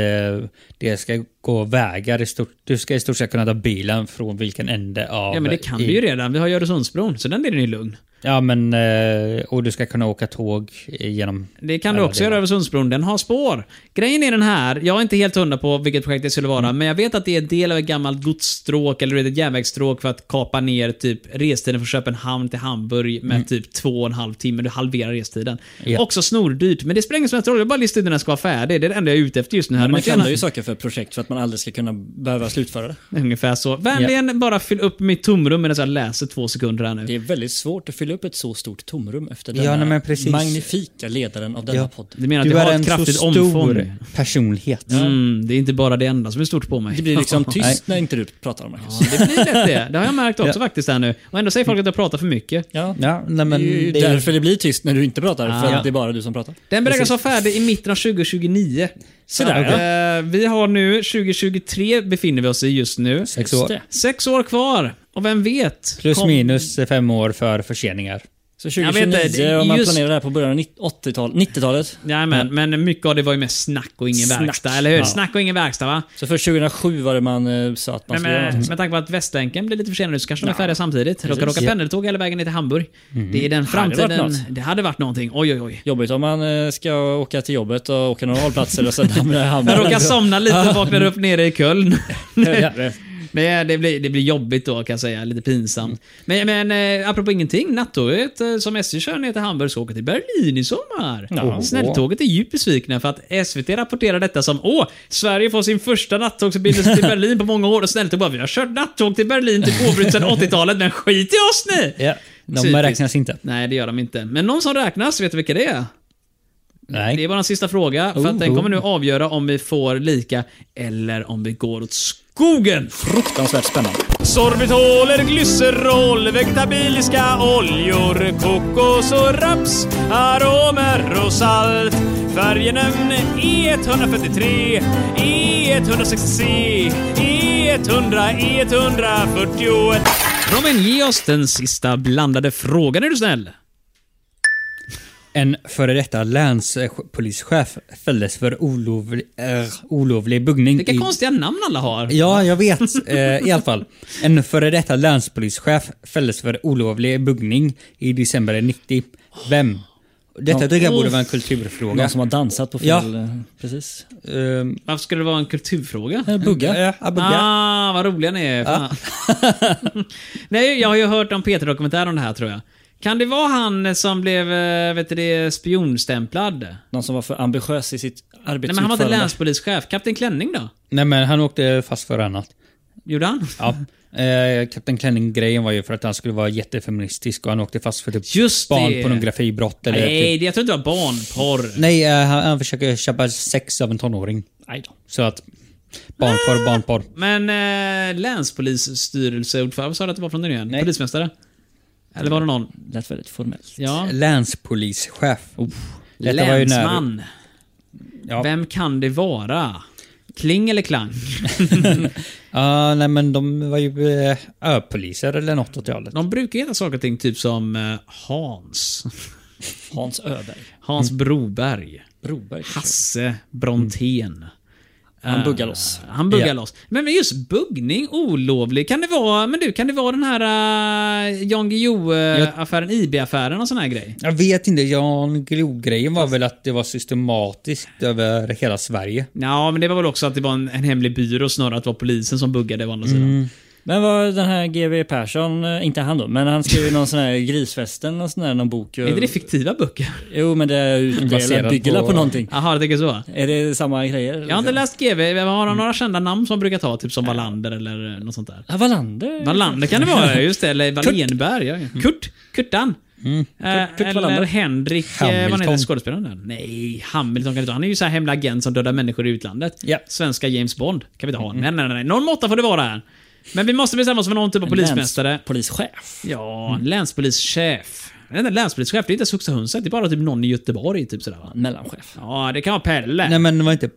[SPEAKER 1] det ska gå vägar. I stort, du ska i stort sett kunna ta bilen från vilken ände av...
[SPEAKER 2] Ja men det kan
[SPEAKER 1] EU.
[SPEAKER 2] vi ju redan. Vi har ju Öresundsbron, så den delen är ju lugn.
[SPEAKER 1] Ja, men... eh, Och du ska kunna åka tåg eh, genom...
[SPEAKER 2] Det kan du
[SPEAKER 1] alla
[SPEAKER 2] också göra
[SPEAKER 1] delar.
[SPEAKER 2] över Sundsbron. Den har spår. Grejen är den här, jag är inte helt hundra på vilket projekt det skulle vara, men jag vet att det är en del av ett gammalt godsstråk eller du vet, ett järnvägsstråk för att kapa ner typ restiden från Köpenhamn till Hamburg med typ två och en halv timme. Du halverar restiden.
[SPEAKER 1] Ja.
[SPEAKER 2] Också snordyrt, men det spelar ingen som helst roll. Jag bara listar ut när den ska vara färdig. Det är det enda jag är ute efter just nu. Här.
[SPEAKER 3] Man
[SPEAKER 2] Men
[SPEAKER 3] kan
[SPEAKER 2] gärna-
[SPEAKER 3] ju söka för projekt för att man aldrig ska kunna behöva slutföra det.
[SPEAKER 2] Ungefär så. Vänligen bara fyll upp mitt tomrum medan jag läser två sekunder här nu.
[SPEAKER 3] Det är väldigt svårt att fylla upp ett så stort tomrum efter
[SPEAKER 1] Ja,
[SPEAKER 3] denna
[SPEAKER 1] nej, men precis.
[SPEAKER 3] magnifika ledaren av denna
[SPEAKER 1] Ja.
[SPEAKER 3] podd.
[SPEAKER 2] Du menar att
[SPEAKER 1] Du
[SPEAKER 2] det
[SPEAKER 1] är
[SPEAKER 2] har ett
[SPEAKER 1] en så
[SPEAKER 2] kraftigt
[SPEAKER 1] stor
[SPEAKER 2] omfång?
[SPEAKER 1] personlighet.
[SPEAKER 2] Mm, det är inte bara det enda som är stort på mig.
[SPEAKER 3] Det blir liksom
[SPEAKER 1] Nej.
[SPEAKER 3] tyst när inte du pratar, Marcus.
[SPEAKER 2] Ja, det blir lätt det. Det har jag märkt också faktiskt här nu. Och ändå säger folk att jag pratar för mycket.
[SPEAKER 3] Ja.
[SPEAKER 1] Ja, nej, men
[SPEAKER 3] det är ju
[SPEAKER 1] det är,
[SPEAKER 3] därför det blir tyst när du inte pratar, för
[SPEAKER 2] Ja.
[SPEAKER 3] att det är bara du som pratar.
[SPEAKER 2] Den beräknas vara färdig i mitten av 2029.
[SPEAKER 3] Så där,
[SPEAKER 2] Eh, Vi har nu 2023 befinner vi oss i just nu.
[SPEAKER 1] sex år.
[SPEAKER 3] det.
[SPEAKER 2] Sex år kvar. Och vem vet?
[SPEAKER 1] Plus
[SPEAKER 2] Kom-
[SPEAKER 1] minus fem år för förseningar.
[SPEAKER 3] Så
[SPEAKER 2] Jag vet
[SPEAKER 3] 2029,
[SPEAKER 2] inte, det-
[SPEAKER 3] om man
[SPEAKER 2] just-
[SPEAKER 3] planerar det här på början av 80-talet, 90-talet.
[SPEAKER 2] Jajamän, men mycket av det var ju med snack och ingen
[SPEAKER 3] Snack.
[SPEAKER 2] verkstad, eller hur?
[SPEAKER 3] Ja.
[SPEAKER 2] Snack och ingen verkstad, va?
[SPEAKER 3] Så för 2007 var det man eh, sa att man
[SPEAKER 2] Men
[SPEAKER 3] skulle göra
[SPEAKER 2] med,
[SPEAKER 3] något.
[SPEAKER 2] med tanke på att Västlänken blir lite försenad så kanske de är färdiga samtidigt. De kan åka
[SPEAKER 1] Ja.
[SPEAKER 2] pendeltåg hela vägen ner till Hamburg. Det är den
[SPEAKER 3] Mm. Hade det varit
[SPEAKER 2] framtiden.
[SPEAKER 3] något?
[SPEAKER 2] det hade varit någonting. Oj, oj, oj.
[SPEAKER 3] Jobbigt om man eh, ska åka till jobbet och åka några hållplatser och sen hamnar i hamnen.
[SPEAKER 2] Jag råkar somna lite och vaknar upp nere i Köln.
[SPEAKER 3] Ja.
[SPEAKER 2] Nej, det blir, det blir jobbigt då kan jag säga. Lite pinsamt. Men, men eh, apropå ingenting. Nattåget eh, som SJ kör ner till Hamburg ska åka till Berlin i sommar. Oh.
[SPEAKER 3] Ja.
[SPEAKER 2] Snälltåget är djupt besvikna för att SVT rapporterar detta som Åh, Sverige får sin första nattågsförbindelse till Berlin på många år. Och Snälltåg bara, vi har kört nattåg till Berlin typ oavbrutet sedan 80-talet, men skit i oss nu!
[SPEAKER 1] Ja, de
[SPEAKER 2] Typiskt.
[SPEAKER 1] räknas inte.
[SPEAKER 2] Nej, det gör de inte. Men någon som räknas, vet du vilka det är?
[SPEAKER 1] Nej.
[SPEAKER 2] Det är bara en sista fråga, för att den kommer nu avgöra om vi får lika eller om vi går åt skogen.
[SPEAKER 3] Fruktansvärt spännande.
[SPEAKER 2] Sorbitoler, glycerol, vegetabiliska oljor, kokos och raps, aromer och salt. E Färgenämn E143, E E160, E E100, E141. Robin, ge oss den sista blandade frågan är du snäll.
[SPEAKER 1] En före detta länspolischef fälldes för olovlig, eh, olovlig buggning
[SPEAKER 2] Vilka
[SPEAKER 1] i...
[SPEAKER 2] konstiga namn alla har.
[SPEAKER 1] Ja, jag vet. Eh, I alla fall. En före detta länspolischef fälldes för olovlig buggning i december 90. Vem? Detta tycker jag borde vara en kulturfråga.
[SPEAKER 3] Någon som har dansat på fel...
[SPEAKER 1] Ja.
[SPEAKER 3] eh, Precis.
[SPEAKER 1] Ehm,
[SPEAKER 2] Varför skulle det vara en kulturfråga?
[SPEAKER 3] Eh, Bugga.
[SPEAKER 1] eh, Abugga.
[SPEAKER 2] Ah, vad roliga ni är. Fan. Nej, jag har ju hört om Peter-dokumentär om det här tror jag. Kan det vara han som blev eh, vet du det, spionstämplad? Nej,
[SPEAKER 3] Någon som var för ambitiös i sitt
[SPEAKER 2] men han var
[SPEAKER 3] arbetsutförande.
[SPEAKER 2] inte länspolischef. Kapten Klänning då?
[SPEAKER 1] Nej men han åkte fast för annat.
[SPEAKER 2] Gjorde han?
[SPEAKER 1] Ja. Eh, Kapten Klänning-grejen var ju för att han skulle vara jättefeministisk och han åkte fast för typ
[SPEAKER 2] Just det.
[SPEAKER 1] barnpornografibrott eller
[SPEAKER 2] Nej,
[SPEAKER 1] typ.
[SPEAKER 2] det, jag tror inte det var barnporr.
[SPEAKER 1] Nej, eh, han, han försöker köpa sex av en tonåring.
[SPEAKER 3] Nej då.
[SPEAKER 1] Så att barnporr, barnporr.
[SPEAKER 2] Men eh, länspolisstyrelseordförande, vad sa du att det var från den igen?
[SPEAKER 1] Nej.
[SPEAKER 2] Polismästare? Eller var det någon?
[SPEAKER 3] Lät väldigt formellt.
[SPEAKER 2] Ja.
[SPEAKER 1] Länspolischef. Detta var ju när-
[SPEAKER 2] Länsman.
[SPEAKER 1] Ja.
[SPEAKER 2] Vem kan det vara? Kling eller klang?
[SPEAKER 1] Ja, nej men de var ju eh, öpoliser eller något åt det hållet.
[SPEAKER 2] De brukar heta saker och ting typ som eh, Hans.
[SPEAKER 3] Hans Öberg.
[SPEAKER 2] Hans
[SPEAKER 3] Mm.
[SPEAKER 2] Broberg.
[SPEAKER 3] Broberg. kanske.
[SPEAKER 2] Hasse Brontén.
[SPEAKER 3] Mm. Han
[SPEAKER 2] Eh,
[SPEAKER 3] buggar loss.
[SPEAKER 2] Han buggar
[SPEAKER 1] Ja.
[SPEAKER 2] loss. Men men just buggning, olovlig. Kan det vara, men du, kan det vara den här uh, Jan Guillou-affären, IB-affären och sån här grej?
[SPEAKER 1] Jag vet inte, Jan Guillou-grejen var väl att det var systematiskt över hela Sverige.
[SPEAKER 2] Ja, men det var väl också att det var en, en hemlig byrå snarare att det var polisen som buggade å andra sidan.
[SPEAKER 3] Mm. Men vad den här GW Persson, eh, inte han då, men han skrev ju någon sån här grisfesten, någon sån här någon bok. eh,
[SPEAKER 2] Är inte det fiktiva böcker?
[SPEAKER 3] Jo, men det är ju
[SPEAKER 1] Baserat
[SPEAKER 3] bygger på...
[SPEAKER 1] på
[SPEAKER 3] på någonting.
[SPEAKER 2] Jaha, det liksom? tycker så.
[SPEAKER 3] Är det samma grejer?
[SPEAKER 2] Jag har inte läst GV. Har han några kända namn som brukar ta? Typ som Wallander eller något sånt där.
[SPEAKER 3] Ja, Wallander.
[SPEAKER 2] Wallander kan det vara, just det. Eller Wallenberg. Ja. Kurt. Kurtan. Eh,
[SPEAKER 3] Kurt
[SPEAKER 2] eller
[SPEAKER 3] Wallander.
[SPEAKER 2] Henrik, Hamilton. vad heter
[SPEAKER 1] Hamilton.
[SPEAKER 2] skådespelaren där? Nej, Hamilton kan vi inte ha. Han är ju så här hemlig agent som dödar människor i utlandet.
[SPEAKER 1] Ja.
[SPEAKER 2] Svenska James Bond. Kan vi inte ha. Nej, nej, nej. Någon måtta får det vara här. Men vi måste bestämma oss för någon typ av polismästare.
[SPEAKER 3] Läns- Polischef.
[SPEAKER 2] Ja, länspolischef. Jag vet inte, Länspolischef, det är inte Suxahundset. Det är bara typ någon i Göteborg, typ sådär va?
[SPEAKER 3] Mellanchef.
[SPEAKER 2] Ja, det kan vara Pelle.
[SPEAKER 1] Nej men var inte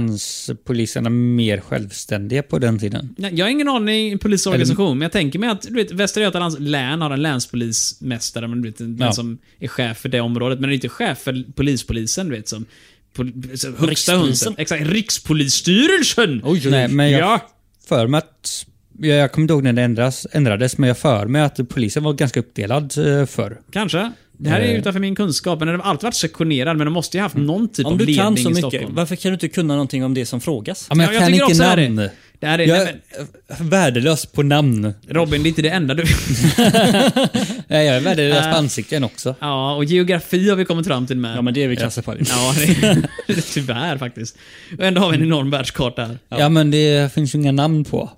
[SPEAKER 1] länspoliserna mer självständiga på den tiden?
[SPEAKER 2] Nej, Jag har ingen aning polisorganisation, men jag tänker mig att du vet, Västra Götalands län har en länspolismästare, men du vet, den
[SPEAKER 1] Ja.
[SPEAKER 2] som är chef för det området. Men det är inte chef för polispolisen, du vet, som... Pol, som högsta
[SPEAKER 3] Rikspolisen.
[SPEAKER 2] hunden. Exakt, Rikspolisstyrelsen!
[SPEAKER 1] Nej, men jag
[SPEAKER 2] Ja.
[SPEAKER 1] för mig att... Jag, jag kommer inte ihåg när det ändras, ändrades, men jag för mig att polisen var ganska uppdelad eh, förr.
[SPEAKER 2] Kanske. Det här är ju
[SPEAKER 1] Eh. Mm.
[SPEAKER 2] utanför min kunskap, men den har alltid varit sektionerad, men de måste ju ha haft någon typ
[SPEAKER 3] Om
[SPEAKER 2] av
[SPEAKER 3] du
[SPEAKER 2] ledning
[SPEAKER 3] kan så
[SPEAKER 2] i
[SPEAKER 3] mycket,
[SPEAKER 2] Stockholm.
[SPEAKER 3] varför kan du inte kunna någonting om det som frågas?
[SPEAKER 1] Ja, men
[SPEAKER 2] Ja,
[SPEAKER 1] jag,
[SPEAKER 2] jag
[SPEAKER 1] kan
[SPEAKER 2] tycker
[SPEAKER 1] inte
[SPEAKER 2] också det här är-
[SPEAKER 1] namn.
[SPEAKER 2] Det här är,
[SPEAKER 1] jag
[SPEAKER 2] nej, men,
[SPEAKER 1] är värdelös på namn.
[SPEAKER 2] Robin, det är inte det enda du...
[SPEAKER 1] Nej, jag är värdelös
[SPEAKER 2] Ah.
[SPEAKER 1] på ansikten också.
[SPEAKER 2] ja, och geografi har vi kommit fram till med.
[SPEAKER 3] Ja, men det är vi klasser på. det.
[SPEAKER 2] Ja, det, tyvärr faktiskt. Och ändå har vi en enorm världskarta här.
[SPEAKER 1] Ja. men det finns ju inga namn på.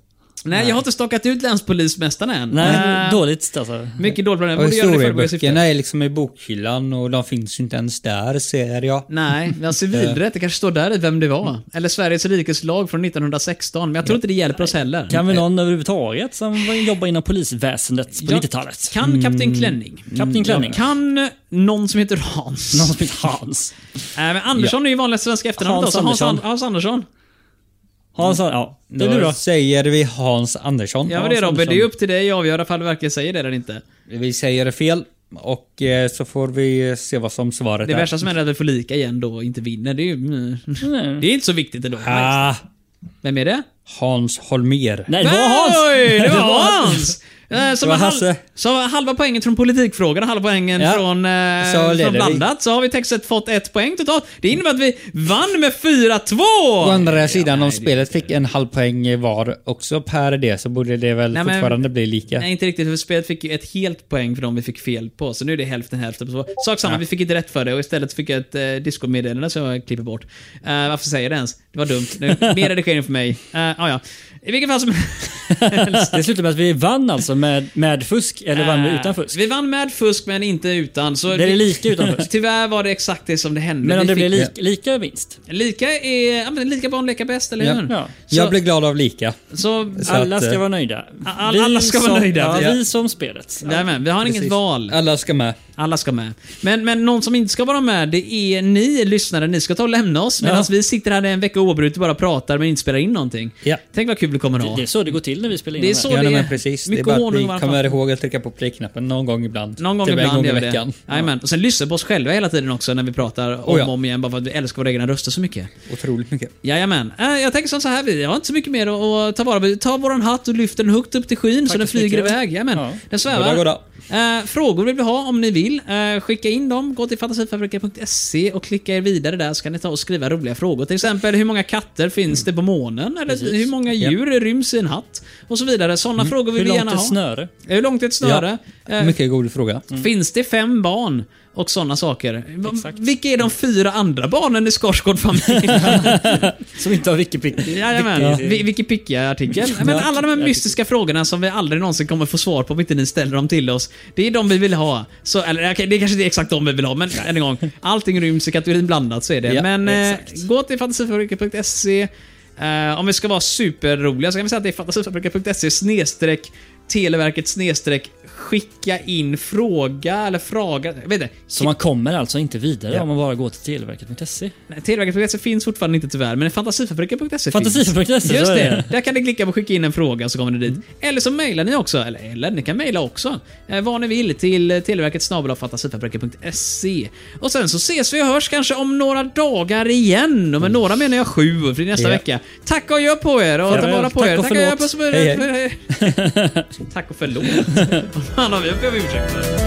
[SPEAKER 2] Nej, jag har inte stakat ut länspolismästaren än.
[SPEAKER 3] Nej,
[SPEAKER 2] Eh,
[SPEAKER 3] dåligt alltså.
[SPEAKER 2] Mycket dåligt plan. Jag
[SPEAKER 1] Och
[SPEAKER 2] borde göra det i förebyggande
[SPEAKER 1] historieböckerna
[SPEAKER 2] syfte.
[SPEAKER 1] är liksom i bokhyllan och de finns ju inte ens där ser jag.
[SPEAKER 2] Nej, vi har civilrätt. Det kanske står där i vem det var. Eller Sveriges rikes lag från 1916. Men jag tror inte det hjälper oss heller.
[SPEAKER 3] Kan vi någon överhuvudtaget som jobbar inom polisväsendet på
[SPEAKER 2] Ja.
[SPEAKER 3] 90-talet?
[SPEAKER 2] Kan Kapten Klänning?
[SPEAKER 3] Kapten Klänning.
[SPEAKER 2] Ja, Kan någon som heter Hans?
[SPEAKER 3] Någon som heter Hans.
[SPEAKER 2] Nej, men Andersson är ju vanligaste svenska
[SPEAKER 3] Hans
[SPEAKER 2] efternamnet. Hans, Hans, Hans,
[SPEAKER 3] Andersson.
[SPEAKER 2] Hans Andersson.
[SPEAKER 3] Hans, ja. Det
[SPEAKER 1] Då
[SPEAKER 3] blir bra.
[SPEAKER 1] säger vi Hans Andersson.
[SPEAKER 2] Ja, men det
[SPEAKER 3] Hans
[SPEAKER 2] Robin. Det är ju
[SPEAKER 3] Andersson.
[SPEAKER 2] upp till dig att avgöra ifall du verkligen säger det eller inte.
[SPEAKER 1] Vi säger fel och eh, så får vi se vad som svaret
[SPEAKER 2] Det
[SPEAKER 1] är.
[SPEAKER 2] värsta som händer är att vi får lika igen då och inte vinner. Det är ju... Det är inte så viktigt ändå.
[SPEAKER 1] Ah,
[SPEAKER 2] Vem är det?
[SPEAKER 1] Hans Holmér.
[SPEAKER 3] Nej, det var Hans!
[SPEAKER 2] Oj, det var Hans! Eh, Som
[SPEAKER 1] Det var
[SPEAKER 2] var halv,
[SPEAKER 1] Hasse.
[SPEAKER 2] så var halva poängen från politikfrågan och halva poängen
[SPEAKER 1] Ja.
[SPEAKER 2] från, eh,
[SPEAKER 1] Så
[SPEAKER 2] från
[SPEAKER 1] leder vi.
[SPEAKER 2] blandat. Så har vi textet fått ett poäng totalt. Det innebär att vi vann med
[SPEAKER 1] Å
[SPEAKER 2] 4-2!
[SPEAKER 1] andra sidan, om spelet fick en halv poäng var också per det så borde det väl
[SPEAKER 2] Nej, men-
[SPEAKER 1] fortfarande bli lika.
[SPEAKER 2] Nej, inte riktigt. För spelet fick ju ett helt poäng för de vi fick fel på. Så nu är det hälften hälften. på så- Sak samma, vi fick inte rätt för det och istället fick jag ett eh, disco-meddelande som jag klipper bort. Eh, varför säger jag det ens? Det var dumt. Nu, mer redigering för mig. Uh, ah, ja. I vilket fall som
[SPEAKER 3] Det slutade med att vi vann alltså med, med fusk, eller vann vi
[SPEAKER 2] Eh,
[SPEAKER 3] utan fusk?
[SPEAKER 2] Vi vann med fusk men inte utan. Så
[SPEAKER 3] Det är lika utan fusk.
[SPEAKER 2] Tyvärr var det exakt det som det hände.
[SPEAKER 3] Men om det
[SPEAKER 2] Vi
[SPEAKER 3] blir
[SPEAKER 2] fick-
[SPEAKER 3] lika, lika vinst?
[SPEAKER 2] Lika är... Ja, men lika barn leka bäst, eller
[SPEAKER 1] Ja.
[SPEAKER 2] hur?
[SPEAKER 3] Ja.
[SPEAKER 1] Jag blir glad av lika.
[SPEAKER 2] Så...
[SPEAKER 1] Så
[SPEAKER 3] Alla
[SPEAKER 1] att,
[SPEAKER 3] ska
[SPEAKER 1] eh,
[SPEAKER 3] vara nöjda.
[SPEAKER 2] alla- alla ska vara
[SPEAKER 3] som,
[SPEAKER 2] nöjda.
[SPEAKER 3] Ja,
[SPEAKER 1] Ja.
[SPEAKER 3] vi som spelet. Ja.
[SPEAKER 2] Nämen, vi har inget
[SPEAKER 1] precis.
[SPEAKER 2] val.
[SPEAKER 1] Alla ska med.
[SPEAKER 2] Alla ska med. Men, men någon som inte ska vara med, det är ni lyssnare. Ni ska ta och lämna oss medan
[SPEAKER 3] Ja.
[SPEAKER 2] vi sitter här en vecka oavbrutet och bara pratar men inte spelar in någonting.
[SPEAKER 1] Ja.
[SPEAKER 2] Tänk vad kul det kommer att ha.
[SPEAKER 3] Det är så det går till när vi spelar in
[SPEAKER 2] Det är
[SPEAKER 3] de här.
[SPEAKER 2] så-
[SPEAKER 1] Ja,
[SPEAKER 2] det
[SPEAKER 1] nej,
[SPEAKER 2] är
[SPEAKER 1] men precis. Det är
[SPEAKER 2] mycket
[SPEAKER 1] bara
[SPEAKER 2] honung
[SPEAKER 1] att
[SPEAKER 2] varje
[SPEAKER 1] vi kommer
[SPEAKER 2] fall.
[SPEAKER 1] ihåg att trycka på play-knappen någon gång ibland.
[SPEAKER 2] Någon gång
[SPEAKER 1] Typ en
[SPEAKER 2] ibland
[SPEAKER 1] gång i
[SPEAKER 2] gör vi det.
[SPEAKER 1] veckan.
[SPEAKER 2] Jajamän. Och sen lyssnar vi på oss själva hela tiden också när vi pratar om
[SPEAKER 1] Oh ja.
[SPEAKER 2] och om igen bara för att vi älskar våra egna röster så mycket.
[SPEAKER 1] Otroligt mycket.
[SPEAKER 2] Jajamän. Äh, jag tänker som så här, vi har inte så mycket mer att, att ta vara på. Ta våran hatt och lyft den högt upp till skyn så den
[SPEAKER 3] så
[SPEAKER 2] flyger
[SPEAKER 3] mycket.
[SPEAKER 2] iväg. Jajamän.
[SPEAKER 3] Ja.
[SPEAKER 2] Den svävar.
[SPEAKER 1] Goda, goda.
[SPEAKER 2] Eh, frågor vill vi ha om ni vill. Eh, skicka in dem. Gå till fantasifabriken.se och klicka er vidare där så kan ni ta och skriva roliga frågor. Till exempel hur många katter finns det på månen? Eller hur många djur ryms i en hatt? Och så vidare. Sådana frågor vill
[SPEAKER 3] Mm. Hur
[SPEAKER 2] vi gärna
[SPEAKER 3] långt är
[SPEAKER 2] ha.
[SPEAKER 3] snöre?
[SPEAKER 2] Hur långt är ett snöre? Eh,
[SPEAKER 1] Mycket god fråga.
[SPEAKER 3] Mm.
[SPEAKER 2] Finns det fem barn? Och sådana saker. Va- Vilka är de fyra andra barnen i Skarsgård-familjen?
[SPEAKER 3] Som inte har wikipicki.
[SPEAKER 2] Jajamän. Vi- Vilken pickiga artikel. Men
[SPEAKER 3] Ja.
[SPEAKER 2] alla de här mystiska frågorna som vi aldrig någonsin kommer få svar på om inte ni ställer dem till oss. Det är de vi vill ha. Så, eller okej, det är kanske inte är exakt de vi vill ha, men än en gång. Allting ryms i kategorin blandat, så är det.
[SPEAKER 1] Ja,
[SPEAKER 2] men eh, gå till fantasifabriken.se. Eh, om vi ska vara superroliga så kan vi säga att det är fantasifabriken.se snedstreck Televerket snedstreck skicka in fråga eller fråga. Jag vet inte.
[SPEAKER 3] Så man kommer alltså inte vidare
[SPEAKER 2] Ja.
[SPEAKER 3] om man bara går till televerket.se.
[SPEAKER 2] Nej, Televerket.se finns fortfarande inte tyvärr, men fantasifabriken.se
[SPEAKER 3] Fantasifabriken.se,
[SPEAKER 2] finns.
[SPEAKER 3] så
[SPEAKER 2] Just
[SPEAKER 3] är
[SPEAKER 2] E, det.
[SPEAKER 3] det. Mm.
[SPEAKER 2] Där kan ni klicka på skicka in en fråga så kommer ni dit. Eller så mejlar ni också, eller, eller ni kan mejla också, eh, vad ni vill till eh, Televerket snabel-a fantasifabriken.se. E. Och sen så ses vi och hörs kanske om några dagar igen.
[SPEAKER 3] Mm.
[SPEAKER 2] Och med några menar jag sju, för det är nästa
[SPEAKER 1] Ja.
[SPEAKER 2] vecka. Tack och gör på er och ta
[SPEAKER 3] Farväl.
[SPEAKER 2] vara på
[SPEAKER 3] Tack
[SPEAKER 2] er.
[SPEAKER 3] och
[SPEAKER 2] Tack och gör
[SPEAKER 3] förlåt.
[SPEAKER 2] på er. Tack och förlåt. Fan, har vi behöver ursäkta.